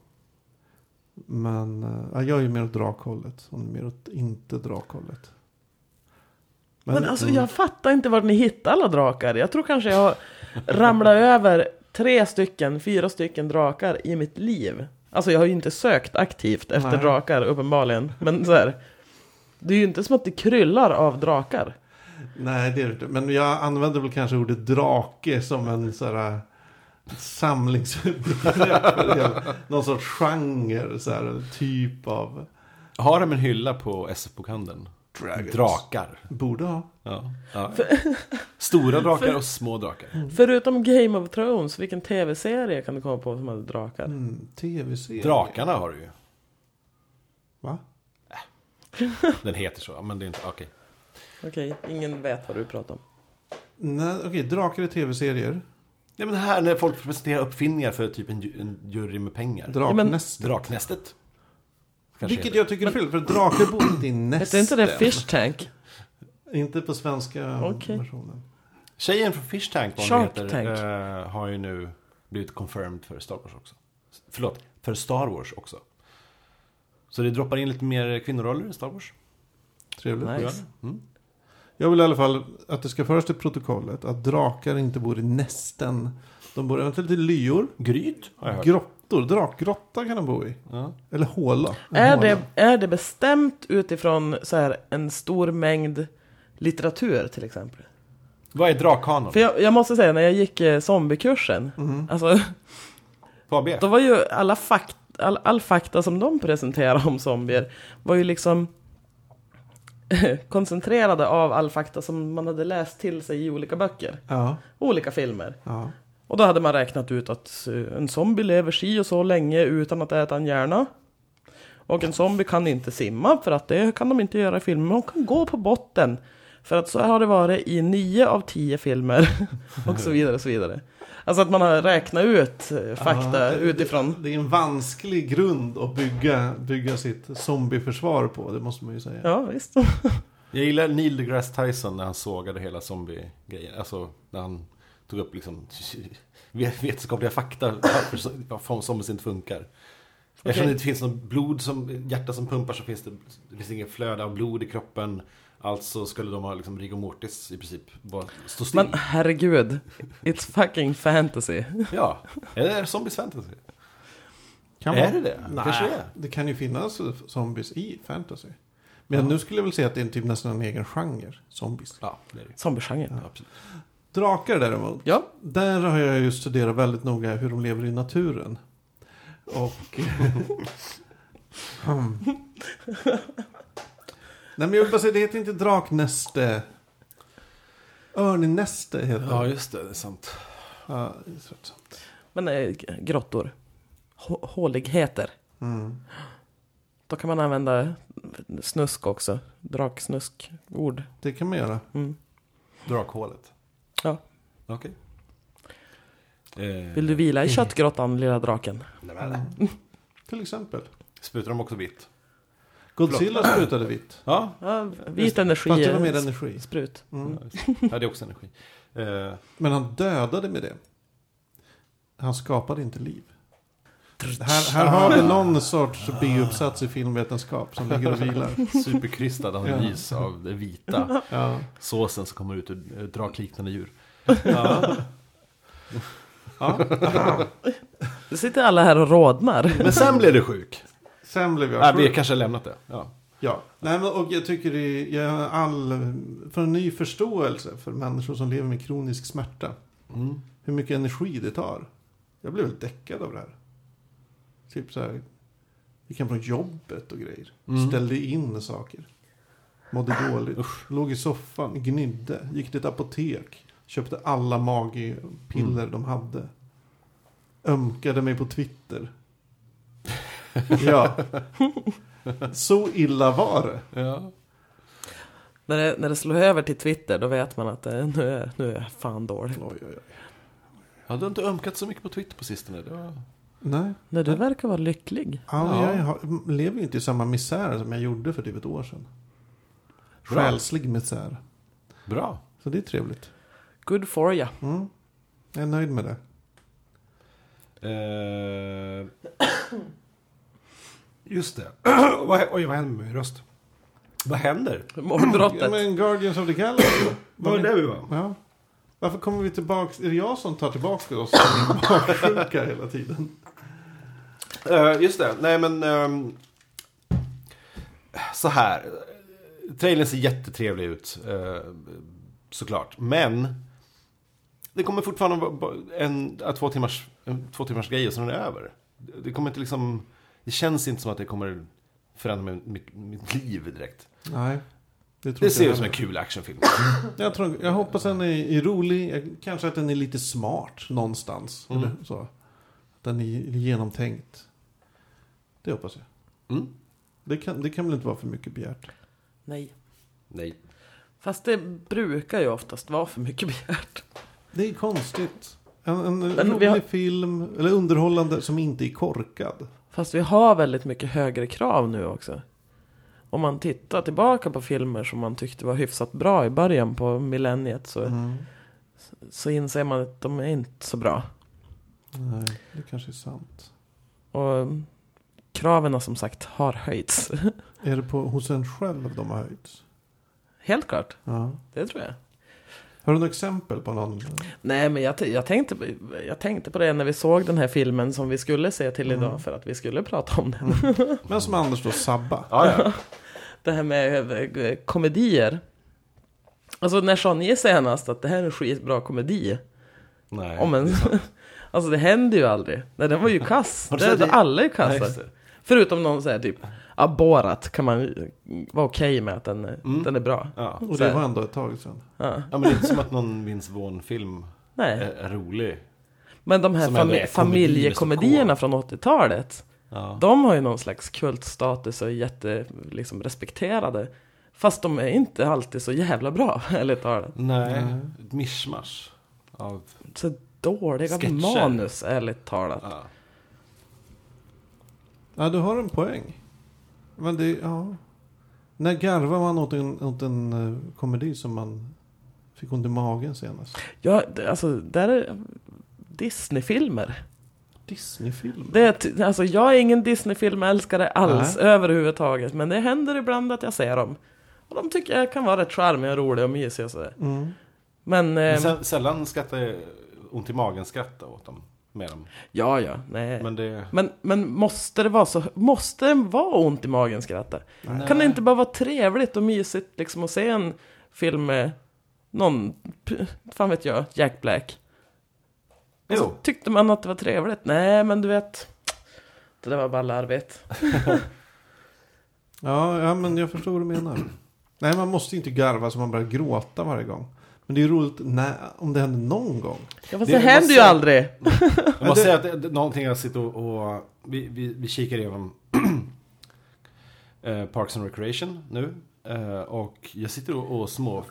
Speaker 2: Men eh, ja, jag är ju mer åt drakhållet. Hon är mer åt inte drakhållet.
Speaker 1: Men alltså
Speaker 2: mm.
Speaker 1: jag fattar inte var ni hittar alla drakar. Jag tror kanske jag har ramlat över tre stycken, fyra stycken drakar i mitt liv. Alltså jag har ju inte sökt aktivt efter
Speaker 2: Nej.
Speaker 1: drakar uppenbarligen. Men så här, det är ju inte som att det kryllar av drakar.
Speaker 2: Nej, det är det inte. Men jag använder väl kanske ordet drake som en eh, sådär samlingsbegrepp. för hela- [laughs] Någon sorts genre, så här, eller typ av...
Speaker 3: Har de en hylla på SF-bokhandeln?
Speaker 2: Dragons.
Speaker 3: Drakar.
Speaker 2: Borde ha.
Speaker 3: Ja. Ja. Stora drakar och små drakar.
Speaker 1: Förutom Game of Thrones, vilken tv-serie kan du komma på som hade drakar?
Speaker 2: Mm, Tv-serie.
Speaker 3: Drakarna har du ju.
Speaker 2: Va?
Speaker 3: Den heter så, men det är inte... Okej.
Speaker 1: Okej, ingen vet vad du pratar om.
Speaker 2: Nej, okej, drakar i tv-serier.
Speaker 3: Nej men det här när folk presenterar uppfinningar för typ en, ju- en jury med pengar.
Speaker 1: Ja, men-
Speaker 2: Draknästet.
Speaker 3: Draknästet. Kanske
Speaker 2: Vilket
Speaker 3: heter.
Speaker 2: jag tycker är fel, för drakar bor inte i
Speaker 1: Heter
Speaker 2: nästen.
Speaker 1: inte det Fish Tank?
Speaker 2: Inte på svenska
Speaker 1: Okej.
Speaker 2: versionen.
Speaker 3: Tjejen från Fish Tank, vad hon
Speaker 1: Shark
Speaker 3: heter,
Speaker 1: Tank.
Speaker 3: Eh, har ju nu blivit confirmed för Star Wars också. S- Förlåt, för Star Wars också. Så det droppar in lite mer kvinnoroller i Star Wars.
Speaker 2: Trevligt.
Speaker 1: Nice.
Speaker 3: Mm.
Speaker 2: Jag vill i alla fall att det ska föras till protokollet att drakar inte bor i nästen. De bor eventuellt i lyor.
Speaker 3: Gryt har jag hört.
Speaker 2: Grottor, drakgrotta kan de bo i.
Speaker 3: ja.
Speaker 2: Eller håla. En
Speaker 1: Är
Speaker 2: håla.
Speaker 1: det, är det bestämt utifrån så här, en stor mängd litteratur till exempel?
Speaker 3: Vad är drakhanen?
Speaker 1: För jag, jag måste säga, när jag gick eh, zombiekursen, alltså, [laughs]
Speaker 3: På AB?
Speaker 1: då var ju alla fakt, all, all fakta som de presenterade om zombier var ju liksom [laughs] koncentrerade av all fakta som man hade läst till sig i olika böcker,
Speaker 2: Ja,
Speaker 1: olika filmer.
Speaker 2: ja.
Speaker 1: Och då hade man räknat ut att eh, en zombie lever si och så länge utan att äta en hjärna. Och en zombie kan inte simma, för att det kan de inte göra i filmen. Men de kan gå på botten. För att så har det varit i nio av tio filmer. [laughs] och så vidare, och så vidare. Alltså att man har räknat ut eh, fakta
Speaker 2: Ja, det-
Speaker 1: utifrån.
Speaker 2: Det är en vansklig grund att bygga, bygga sitt zombieförsvar på. Det måste man ju säga.
Speaker 1: Ja, visst.
Speaker 3: Jag gillar Neil deGrasse Tyson när han sågade hela zombie-grejen. Alltså när han tog upp liksom [laughs] vet- vetenskapliga fakta varför så- varför zombies inte funkar. Eftersom det inte finns något blod som, hjärta som pumpar så finns det, det finns ingen flöde av blod i kroppen. Alltså skulle de ha liksom rigor mortis i princip. Bara stå still.
Speaker 1: Men herregud, it's fucking fantasy.
Speaker 3: Ja. Är det zombies fantasy?
Speaker 2: Kan
Speaker 3: Är
Speaker 2: man-
Speaker 3: det det?
Speaker 2: Nej,
Speaker 3: Kanske det.
Speaker 2: det kan ju finnas zombies i fantasy. Men nu skulle jag väl säga att det är typ nästan en egen genre, zombies.
Speaker 3: Ja, det är det ju.
Speaker 1: Zombiegenren.
Speaker 3: Absolut.
Speaker 2: Drakar däremot.
Speaker 1: Ja.
Speaker 2: Där har jag ju studerat väldigt noga hur de lever i naturen. Och... Hmm. Nej men jag vill bara säga, det heter inte draknäste. Örnnäste heter det.
Speaker 3: Ja, just det. Det är sant.
Speaker 2: Ja, det är rätt sant.
Speaker 1: Men eh, grottor. Hå- Håligheter.
Speaker 2: Mm.
Speaker 1: Då kan man använda snusk också. Draksnusk. Ord.
Speaker 2: Det kan man göra.
Speaker 1: Mm.
Speaker 3: Drakhålet.
Speaker 1: Ja.
Speaker 3: Okej. Eh,
Speaker 1: Vill du vila
Speaker 2: Mm.
Speaker 1: i köttgrottan, lilla draken?
Speaker 3: nej, men,
Speaker 2: Till exempel.
Speaker 3: Sprutar de också vitt?
Speaker 2: Godzilla sprutade vitt.
Speaker 3: Ja,
Speaker 1: Ja, vit
Speaker 2: Fast
Speaker 1: energi.
Speaker 2: det var mer energi.
Speaker 1: Sprut.
Speaker 2: Mm.
Speaker 3: ja, det är också energi. Eh,
Speaker 2: Men han dödade med det. Han skapade inte liv. Här, här har vi någon sorts B-uppsats i filmvetenskap som ligger
Speaker 3: [laughs]
Speaker 2: och vilar.
Speaker 3: superkrystad analys av det vita
Speaker 2: Ja.
Speaker 3: såsen som kommer ut ur eh, drakliknande djur.
Speaker 1: Nu sitter alla här och rodnar. [laughs]
Speaker 3: Men [laughs] sen blev du sjuk.
Speaker 2: Sen blev jag
Speaker 3: Nej, vi
Speaker 2: sjuk.
Speaker 3: kanske har lämnat det. Ja.
Speaker 2: Ja. Nej, men, och jag tycker det jag har all, för en ny förståelse för människor som lever med kronisk smärta.
Speaker 3: Mm.
Speaker 2: Hur mycket energi det tar. Jag blev helt däckad av det här. Typ så här. Vi kan från jobbet och grejer.
Speaker 3: Mm.
Speaker 2: Ställde in saker. Mådde dåligt. Låg i soffan, gnydde. Gick till ett apotek. Köpte alla magpiller de hade. Ömkade mig
Speaker 3: [laughs]
Speaker 2: på Twitter. ja. Så illa var det.
Speaker 3: Ja.
Speaker 1: När det, när det slår över till Twitter, då vet man att eh, nu är, nu är jag fan dålig.
Speaker 2: Oj, oj, oj.
Speaker 3: Ja, du har inte ömkat så mycket på Twitter på sistone. Det var...
Speaker 2: Nej,
Speaker 1: Nej, du verkar vara lycklig.
Speaker 2: ja,
Speaker 3: Ja.
Speaker 2: jag har, lever ju inte i samma misär som jag gjorde för typ ett år sedan.
Speaker 3: Bra.
Speaker 2: Själslig misär.
Speaker 3: Bra.
Speaker 2: Så det är trevligt.
Speaker 1: Good for ya.
Speaker 2: Mm. Jag är nöjd med det.
Speaker 3: Eh, Just det. [clears throat] Vad hä- Oj, vad händer med min röst? Vad händer?
Speaker 2: Ja,
Speaker 1: Mordbrottet.
Speaker 2: men Guardians of the Galaxy.
Speaker 3: Vad var det vi var?
Speaker 2: Ja. Varför kommer vi tillbaka? Är det jag som tar tillbaka oss till min magsjuka hela tiden?
Speaker 3: Eh, just det, nej men... ehm, så här. Eh, Trailern ser jättetrevlig ut. eh, såklart. Men. Det kommer fortfarande vara bara en, en, två, timmars, en två timmars grej och sen är det över. Det kommer inte liksom... Det känns inte som att det kommer förändra mitt, mitt, mitt liv direkt.
Speaker 2: Nej. Det, tror
Speaker 3: Det
Speaker 2: inte
Speaker 3: ser
Speaker 2: jag
Speaker 3: ut som en
Speaker 2: heller.
Speaker 3: kul actionfilm.
Speaker 2: jag, tror, jag hoppas den är, är rolig. Jag- Kanske att den är lite smart någonstans.
Speaker 3: Mm.
Speaker 2: Eller så. Att den är genomtänkt. Det hoppas jag.
Speaker 3: Mm.
Speaker 2: Det kan, det kan väl inte vara för mycket begärt.
Speaker 1: Nej.
Speaker 3: Nej.
Speaker 1: Fast det brukar ju oftast vara för mycket begärt.
Speaker 2: Det är konstigt. En, en
Speaker 1: Men vi
Speaker 2: rolig
Speaker 1: har-
Speaker 2: film, eller underhållande, som inte är korkad.
Speaker 1: Fast vi har väldigt mycket högre krav nu också. Om man tittar tillbaka på filmer som man tyckte var hyfsat bra i början på millenniet så,
Speaker 2: Mm.
Speaker 1: så inser man att de är inte så bra.
Speaker 2: Nej, det kanske är sant.
Speaker 1: Och kraven som sagt har höjts. [laughs]
Speaker 2: Är det på, hos en själv de har höjts?
Speaker 1: Helt klart,
Speaker 2: Ja.
Speaker 1: det tror jag.
Speaker 2: Har du något exempel på någon?
Speaker 1: Nej men jag, t- jag, tänkte, på- jag tänkte på det när vi såg den här filmen som vi skulle se till idag för att vi skulle prata om den.
Speaker 2: Men som Anders då, Sabba.
Speaker 3: Ja, ja.
Speaker 1: [laughs] Det här med eh, komedier. Alltså när Sonja senast att det här är en skitbra komedi.
Speaker 3: Nej.
Speaker 1: [laughs] Om en... alltså det händer ju aldrig. Nej, den var ju kass.
Speaker 3: Har du
Speaker 1: Det,
Speaker 3: sett
Speaker 1: det,
Speaker 3: det?
Speaker 1: alla är
Speaker 3: Nej,
Speaker 1: kassa.
Speaker 3: just det.
Speaker 1: Förutom någon säger typ abborat kan man ju vara okej med att den,
Speaker 3: Mm.
Speaker 1: den är bra.
Speaker 3: Ja.
Speaker 2: Och
Speaker 1: Så
Speaker 2: det
Speaker 1: här.
Speaker 2: var ändå ett tag sedan.
Speaker 1: Ja.
Speaker 3: ja, men det är inte som att någon Vince Vaughn-film är,
Speaker 1: Nej.
Speaker 3: är rolig.
Speaker 1: Men de här
Speaker 3: Eh, Som ändå
Speaker 1: fami-
Speaker 3: är liksom, komedier
Speaker 1: familjekomedierna
Speaker 3: med
Speaker 1: från 80-talet.
Speaker 3: Ja.
Speaker 1: De har ju någon slags kultstatus och är jätte, liksom, respekterade. Fast de är inte alltid så jävla bra, [laughs] ärligt talat.
Speaker 3: Nej, ett mischmasch av...
Speaker 1: Så dåliga
Speaker 3: Sketcher.
Speaker 1: manus, ärligt talat.
Speaker 3: Ja.
Speaker 2: Ja, du har en poäng. Men det, ja. När garvar man åt en, åt en eh, komedi som man fick ont i magen senast?
Speaker 1: Ja, det- alltså, där är Disney-filmer.
Speaker 2: Disneyfilm?
Speaker 1: Det är ty- alltså, jag är ingen Disney-filmälskare alls överhuvudtaget, men det händer ibland att jag ser dem. Och de tycker jag kan vara rätt charmiga och roliga och mysiga och sådär.
Speaker 2: Mm.
Speaker 1: Men, eh,
Speaker 3: Men sä- sällan skrattar jag ont i magen skratta åt dem. Med dem.
Speaker 1: ja, ja, nej. Men,
Speaker 3: Men det...
Speaker 1: men, måste det vara så? Måste det vara ont i magen skratta? Kan det inte bara vara trevligt och mysigt liksom att se en film med någon, p- fan vet jag, Jack Black? Och så
Speaker 3: Jo.
Speaker 1: tyckte man att det var trevligt. Nej, men du vet. Det där var bara larvigt.
Speaker 2: Ja, ja, men jag förstår vad du menar. Nej, man måste inte garva så man börjar gråta varje gång. Men det är ju roligt när, om det händer någon gång.
Speaker 1: Ja, fast
Speaker 3: Det
Speaker 1: det,
Speaker 3: är-
Speaker 1: händer ju
Speaker 3: måste-
Speaker 1: aldrig.
Speaker 3: Jag måste säga att det, det, någonting jag sitter och... och vi, vi, vi kikar igenom [clears throat] eh, Parks and Recreation nu. Eh, och jag sitter och, och små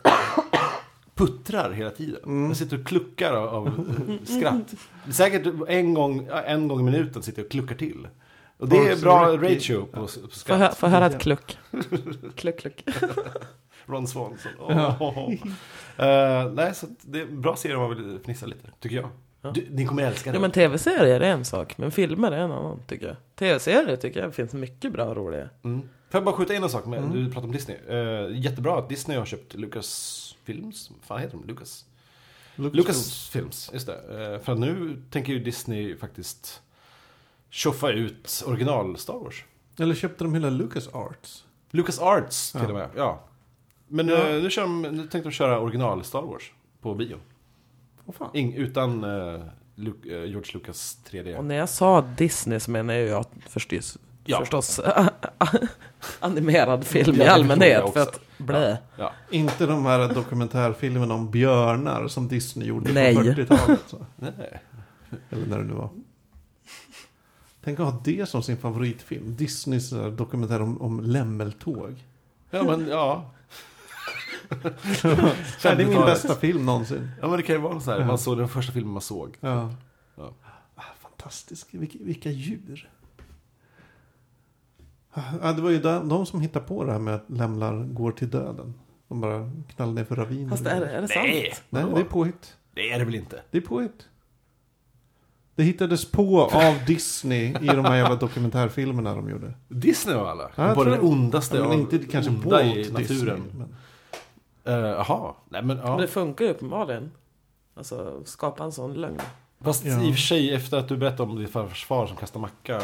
Speaker 3: puttrar hela tiden. Jag sitter och kluckar av, av eh, skratt. Säkert en gång, ja, en gång i minuten sitter jag och kluckar till. Och det
Speaker 2: Parks
Speaker 3: är
Speaker 2: and
Speaker 3: bra
Speaker 2: Rec-
Speaker 3: ratio på, på
Speaker 1: Få, hö-
Speaker 3: skratt.
Speaker 1: få höra ett kluck.
Speaker 3: [laughs]
Speaker 1: kluck, kluck.
Speaker 3: Ron Swanson. Åh. Eh, nej, så att det är en bra serie om man vill fnissa lite, tycker jag. Du, ni kommer älska
Speaker 1: Ja,
Speaker 3: den.
Speaker 1: men tv-serier är en sak, men filmer är en annan tycker jag. Tv-serier tycker jag finns mycket bra och roliga.
Speaker 3: Mm. Får jag bara skjuta in en sak? Med, Du pratade om Disney. Eh, jättebra att Disney har köpt Lucas Films. Vad fan heter de? Lucas? Lucas Films, just det. Eh, för att nu tänker ju Disney faktiskt tjoffa ut original Star Wars.
Speaker 2: Eller köpte de hela Lucas Arts?
Speaker 3: Lucas Arts till
Speaker 2: Ja.
Speaker 3: och med. Ja. Men
Speaker 2: Ja.
Speaker 3: eh, nu, kör de, nu tänkte de köra original Star Wars på bio.
Speaker 2: Vad fan?
Speaker 3: Ing, utan eh, Lu- eh, George Lucas 3D.
Speaker 1: Och när jag sa Disney så menar jag ju att förstås,
Speaker 3: Ja.
Speaker 1: förstås [laughs] animerad film i
Speaker 3: Ja, det förstår
Speaker 1: allmänhet.
Speaker 3: jag
Speaker 1: För
Speaker 3: också.
Speaker 1: att, blä.
Speaker 3: Ja.
Speaker 2: Inte de här dokumentärfilmerna om björnar som Disney gjorde
Speaker 1: Nej.
Speaker 2: på 40-talet. så.
Speaker 3: Nej.
Speaker 2: Eller när det nu var. Tänk att ha det som sin favoritfilm. Disneys eh, dokumentär om, om lämmeltåg.
Speaker 3: Ja, men ja.
Speaker 2: Det är min bästa film någonsin.
Speaker 3: Ja, men det kan ju vara så här. Man såg den första filmen man såg.
Speaker 2: Ja.
Speaker 3: Ja.
Speaker 2: Ah, fantastisk. Vilka, vilka djur. Ah, det var ju de, de som hittade på det här med att lämlar går till döden. De bara knallar ner för raviner.
Speaker 1: Fast är, det- är det sant?
Speaker 3: Nej,
Speaker 2: Nej, det är påhitt.
Speaker 3: det är det väl inte.
Speaker 2: Det är påhitt. Det hittades på av Disney i de här jävla dokumentärfilmerna de gjorde.
Speaker 3: Disney av alla.
Speaker 2: Ja, jag
Speaker 3: på
Speaker 2: tror
Speaker 3: den
Speaker 2: det.
Speaker 3: ondaste
Speaker 2: Ja,
Speaker 3: av
Speaker 2: men inte kanske
Speaker 3: onda
Speaker 2: Walt
Speaker 3: i
Speaker 2: Disney.
Speaker 3: naturen.
Speaker 2: men-
Speaker 3: Eh, Jaha, nej men ja.
Speaker 1: Men det funkar ju uppenbarligen. Alltså, skapa en sån lögn.
Speaker 3: Fast
Speaker 2: Ja.
Speaker 3: i och för sig efter att du berättade om din farfars far som kastar macka.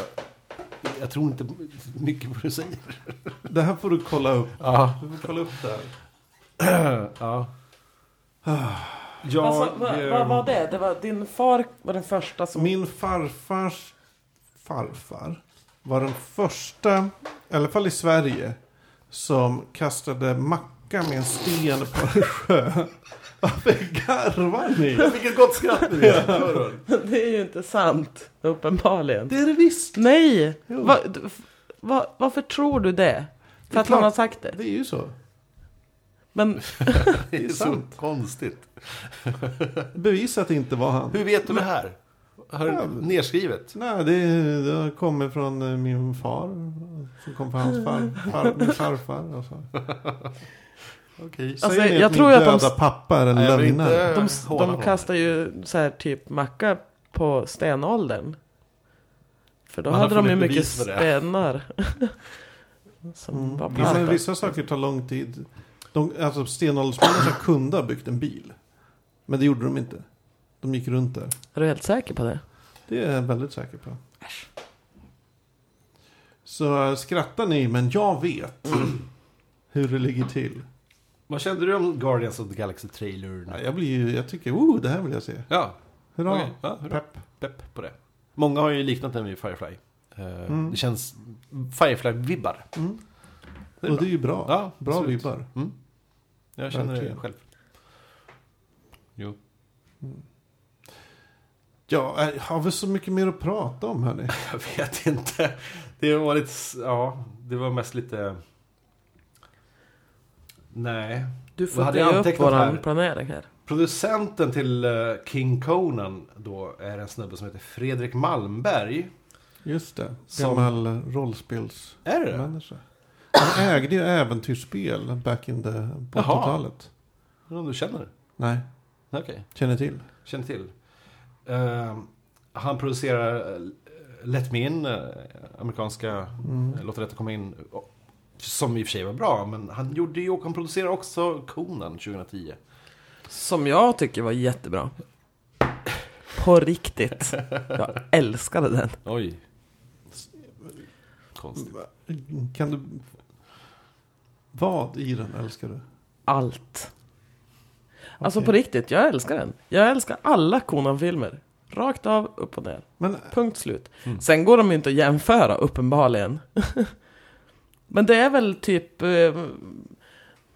Speaker 3: Jag tror inte mycket på vad du säger.
Speaker 2: Det här får du kolla upp.
Speaker 3: Ja.
Speaker 2: Du får kolla upp det här.
Speaker 3: ja. Jag, eh,
Speaker 1: alltså, vad, vad var det? det var, din far var den första som... [laughs]
Speaker 2: Min farfars farfar var den första, i alla fall i Sverige, som kastade macka med en sten på en sjö. Varför garvar
Speaker 3: [laughs]
Speaker 2: ni?
Speaker 3: [laughs] Vilket gott skratt du [laughs] gör. Hör du?
Speaker 1: det är ju inte sant, uppenbarligen.
Speaker 2: Det är det visst.
Speaker 1: Nej!
Speaker 2: Jo.
Speaker 1: Va, du- f- va, varför tror du det? För att han
Speaker 2: klart.
Speaker 1: har sagt det?
Speaker 2: Det är ju så.
Speaker 1: Men
Speaker 3: Det är så
Speaker 2: sant.
Speaker 3: konstigt.
Speaker 2: Bevisa att det inte var han.
Speaker 3: Hur vet du det här? Har
Speaker 2: Ja,
Speaker 3: du
Speaker 2: men-
Speaker 3: nedskrivet?
Speaker 2: Nej, det, det kommer från eh, min far. Som kom från hans far, far, min farfar. Och [laughs] så.
Speaker 3: Okej.
Speaker 1: Alltså,
Speaker 2: Säger ni
Speaker 1: jag
Speaker 2: att
Speaker 1: tror
Speaker 2: min
Speaker 1: att de-
Speaker 2: döda pappa är en
Speaker 3: Nej, jag vill
Speaker 2: lögnare?
Speaker 3: inte
Speaker 1: de,
Speaker 3: håna
Speaker 1: de
Speaker 3: honom.
Speaker 1: kastar ju så här typ macka på stenåldern. För då
Speaker 3: Man har
Speaker 1: hade de ju
Speaker 3: funnit
Speaker 1: mycket
Speaker 3: bevis för det.
Speaker 1: stenar. som var
Speaker 2: Mm. Ja, men
Speaker 1: platta.
Speaker 2: vissa saker tar lång tid. De, alltså stenåldersmänniskan kunde ha byggt en bil. Men det gjorde de inte. De gick runt där.
Speaker 1: Är du helt säker på det?
Speaker 2: Det är jag väldigt säker på. Så eh, skrattar ni, men jag vet
Speaker 1: Mm.
Speaker 2: hur det ligger till.
Speaker 3: Vad kände du om Guardians of the Galaxy-trailern?
Speaker 2: Ja, jag blir ju, jag tycker, oh, det här vill jag se.
Speaker 3: Ja,
Speaker 2: Hurra.
Speaker 3: okej. ja hurra.
Speaker 2: Pepp.
Speaker 3: pepp på det. Många har ju liknat den vid Firefly. Eh,
Speaker 2: Mm.
Speaker 3: Det känns Firefly-vibbar.
Speaker 2: Mm.
Speaker 3: Det är
Speaker 2: Och det är ju bra.
Speaker 3: Ja,
Speaker 2: bra
Speaker 3: absolut.
Speaker 2: vibbar.
Speaker 3: Mm. Jag känner
Speaker 2: Verkligen.
Speaker 3: det själv. Jo.
Speaker 2: Ja, eh, har vi så mycket mer att prata om hörni?
Speaker 3: Jag vet inte. Det var lite, s- ja, det var mest lite... Nej.
Speaker 1: Du får
Speaker 3: hade
Speaker 1: ge
Speaker 3: jag
Speaker 1: upp
Speaker 3: antecknat
Speaker 1: våran
Speaker 3: här.
Speaker 1: planering här.
Speaker 3: Producenten till eh, King Conan då är en snubbe som heter Fredrik Malmberg.
Speaker 2: Just det.
Speaker 3: Som-
Speaker 2: Gammal eh, rollspels...
Speaker 3: Är det det?
Speaker 2: människa. Han ägde ju äventyrsspel back in the på
Speaker 3: Jaha.
Speaker 2: 80-talet.
Speaker 3: Undrar om du känner det?
Speaker 2: Nej,
Speaker 3: Okej.
Speaker 2: känner till.
Speaker 3: Känner till. Eh, han producerar eh, Let Me In, eh, amerikanska
Speaker 2: Mm.
Speaker 3: eh, Låt Rätta Komma In. och- Som i och för sig var bra, men han, gjorde ju, han producerade också Conan 2010.
Speaker 1: Som jag tycker var jättebra. På riktigt. Jag älskade den.
Speaker 3: Oj. Konstigt.
Speaker 2: Kan du... Vad i den älskar du?
Speaker 1: Allt. Alltså
Speaker 2: Okej.
Speaker 1: på riktigt, jag älskar den. Jag älskar alla Conan-filmer. Rakt av, upp och ner.
Speaker 2: Men
Speaker 1: Punkt slut. Sen går de ju inte att jämföra, uppenbarligen. [laughs] Men det är väl typ... eh,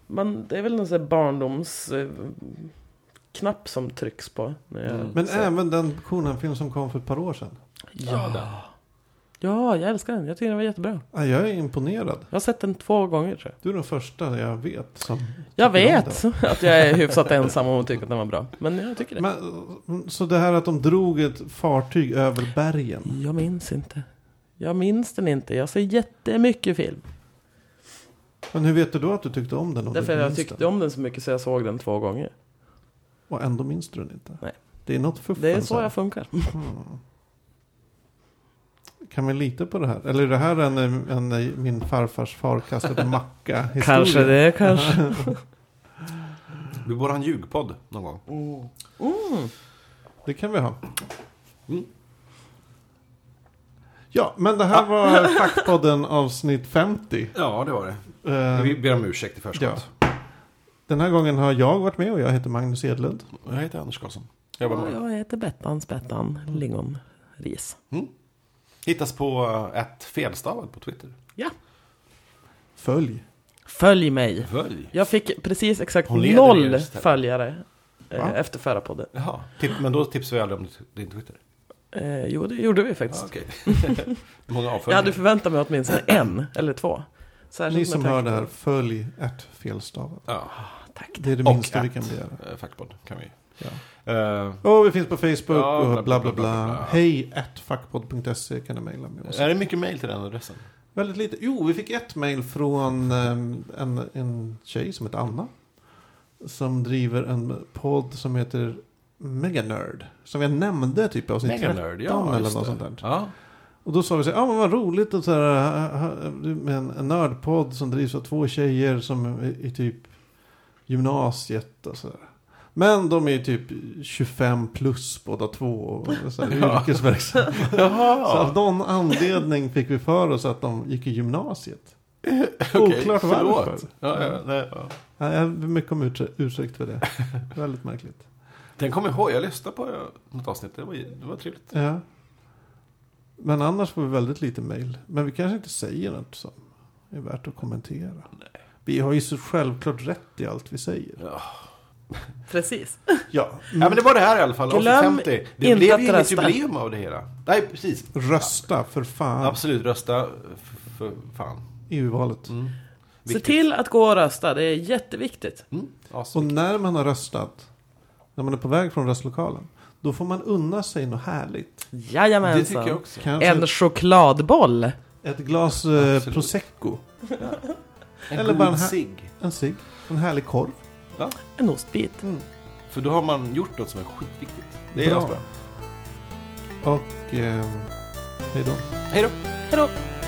Speaker 1: Man, det är väl någon sån här barndoms... eh, knapp som trycks på. När jag
Speaker 3: Mm.
Speaker 2: Men
Speaker 1: ser-
Speaker 2: även den Conan-film som kom för ett par år sedan.
Speaker 1: Ja. Ja, jag älskar den. Jag tycker den var jättebra.
Speaker 2: Ja, jag är imponerad.
Speaker 1: Jag har sett den två gånger tror jag.
Speaker 2: Du är den första jag vet som...
Speaker 1: Jag
Speaker 2: tycker om
Speaker 1: vet [laughs] att jag är hyfsat ensam om att tycka att den var bra. Men jag tycker det.
Speaker 2: den. Men, så det här att de drog ett fartyg över bergen.
Speaker 1: Jag minns inte. Jag minns den inte. Jag ser jättemycket film.
Speaker 2: Men hur vet du då att du tyckte om den? Om
Speaker 1: Därför
Speaker 2: du
Speaker 1: jag
Speaker 2: minns
Speaker 1: tyckte
Speaker 2: den?
Speaker 1: om den så mycket så jag såg den två gånger.
Speaker 2: Och ändå minns du den inte?
Speaker 1: Nej.
Speaker 2: Det är något fuffens
Speaker 1: Det är så
Speaker 2: här.
Speaker 1: jag funkar.
Speaker 2: Kan vi lita på det här? Eller är det här en, en min farfars far
Speaker 1: [laughs]
Speaker 2: kastade macka
Speaker 1: Kanske
Speaker 2: [laughs]
Speaker 1: det, kanske.
Speaker 3: Vi borde ha en ljugpodd någon gång.
Speaker 1: Mm.
Speaker 2: Det kan vi ha.
Speaker 3: Mm.
Speaker 2: Ja, men det
Speaker 1: Ah.
Speaker 2: här var
Speaker 1: [laughs]
Speaker 2: Fackpodden avsnitt 50.
Speaker 3: Ja, det var det.
Speaker 2: Eh,
Speaker 3: Vi ber om ursäkt i förskott.
Speaker 2: Den här gången har jag varit med och jag heter Magnus Edlund.
Speaker 3: Jag heter Anders Karlsson. Jag jobbar
Speaker 1: Ja,
Speaker 3: med.
Speaker 1: jag heter Bettan Spettan Lingonris.
Speaker 3: Hittas på eh, ett felstavad på Twitter.
Speaker 1: Ja.
Speaker 2: Följ.
Speaker 1: Följ mig.
Speaker 3: Följ.
Speaker 1: Jag fick precis exakt
Speaker 3: Hon leder er
Speaker 1: noll
Speaker 3: istället.
Speaker 1: följare eh,
Speaker 2: Va?
Speaker 1: efter förra podden.
Speaker 3: Jaha, tip, men då tipsar vi aldrig om din Twitter.
Speaker 1: Eh, jo, det gjorde vi faktiskt.
Speaker 3: Ah, Okej. [laughs] Många
Speaker 1: Jag
Speaker 3: avföljare.
Speaker 1: hade förväntat mig åtminstone
Speaker 2: [clears throat]
Speaker 1: en eller två. Särskilt
Speaker 2: Ni
Speaker 1: med
Speaker 2: som
Speaker 1: tanke
Speaker 2: hör det
Speaker 1: på-
Speaker 2: här, följ ett felstavat.
Speaker 3: Ja,
Speaker 1: Tack.
Speaker 2: Det är det
Speaker 3: Och
Speaker 2: minsta vi
Speaker 3: ett.
Speaker 2: kan begära.
Speaker 3: eh, fackpodd kan vi.
Speaker 2: Ja.
Speaker 3: Eh,
Speaker 2: Och vi finns på Facebook
Speaker 3: Ja,
Speaker 2: och bla bla bla.
Speaker 3: bla.
Speaker 2: Hej, at fackpodd.se kan du mejla med oss.
Speaker 3: Eh, är det mycket mail till den adressen?
Speaker 2: Väldigt lite. Jo, vi fick ett mejl från ehm, en, en tjej som heter Anna. Som driver en podd som heter Meganerd. Som jag nämnde typ i avsnitt 13
Speaker 3: Meganerd, ja.
Speaker 2: eller
Speaker 3: just
Speaker 2: något
Speaker 3: det.
Speaker 2: sånt där.
Speaker 3: Ja. [laughs]
Speaker 2: Och då sa vi så här, ja ah, men vad roligt att så här, ha- ha- med en, en nördpodd som drivs av två tjejer som är i typ gymnasiet och så där. Men de är ju typ 25 plus båda två och så här,
Speaker 3: [laughs] Ja.
Speaker 2: yrkesverksamma. Så av
Speaker 3: Jaha,
Speaker 2: någon anledning fick vi för oss att de gick i gymnasiet.
Speaker 3: [laughs] okej,
Speaker 2: Oklart
Speaker 3: förlåt.
Speaker 2: varför.
Speaker 3: Ja, ja, nej, ja.
Speaker 2: Ja, Jag ber mycket om ursäkt- ursäkt
Speaker 3: [laughs]
Speaker 2: för det. Väldigt märkligt.
Speaker 3: Den kommer jag ihåg, jag lyssnade på eh, något avsnitt, det var, det var trevligt.
Speaker 2: Ja. Men annars får vi väldigt lite mejl. Men vi kanske inte säger något som är värt att kommentera. Vi har ju så självklart rätt i allt vi säger.
Speaker 3: Ja.
Speaker 1: Precis.
Speaker 2: Ja,
Speaker 3: Ja, men det var det här i alla fall,
Speaker 1: Glöm
Speaker 3: avsnitt 50. Det
Speaker 1: inte
Speaker 3: blev
Speaker 1: att
Speaker 3: ju inget
Speaker 1: rösta.
Speaker 3: jubileum av det hela. Nej, precis.
Speaker 2: rösta för fan.
Speaker 3: Absolut, rösta f- för fan.
Speaker 2: EU-valet.
Speaker 1: Se
Speaker 3: Viktigt.
Speaker 1: till att gå och rösta, det är jätteviktigt.
Speaker 3: Mm.
Speaker 2: Och
Speaker 3: Awesome.
Speaker 2: när man har röstat, när man är på väg från röstlokalen, då får man unna sig något härligt.
Speaker 3: Det tycker jag
Speaker 1: Jajamensan.
Speaker 3: också.
Speaker 2: Kanske
Speaker 1: En chokladboll.
Speaker 2: ett glas eh,
Speaker 3: Absolut.
Speaker 2: prosecco,
Speaker 3: En
Speaker 2: Eller
Speaker 3: Eller
Speaker 2: bara
Speaker 3: god
Speaker 2: en här-
Speaker 3: cigg.
Speaker 2: en cigg, en härlig korv.
Speaker 1: En ostbit.
Speaker 3: För då har man gjort något som är skitviktigt. Det
Speaker 2: Bra.
Speaker 3: är asbra.
Speaker 2: Och eh, hej då.
Speaker 3: Hej då!
Speaker 1: Hejdå.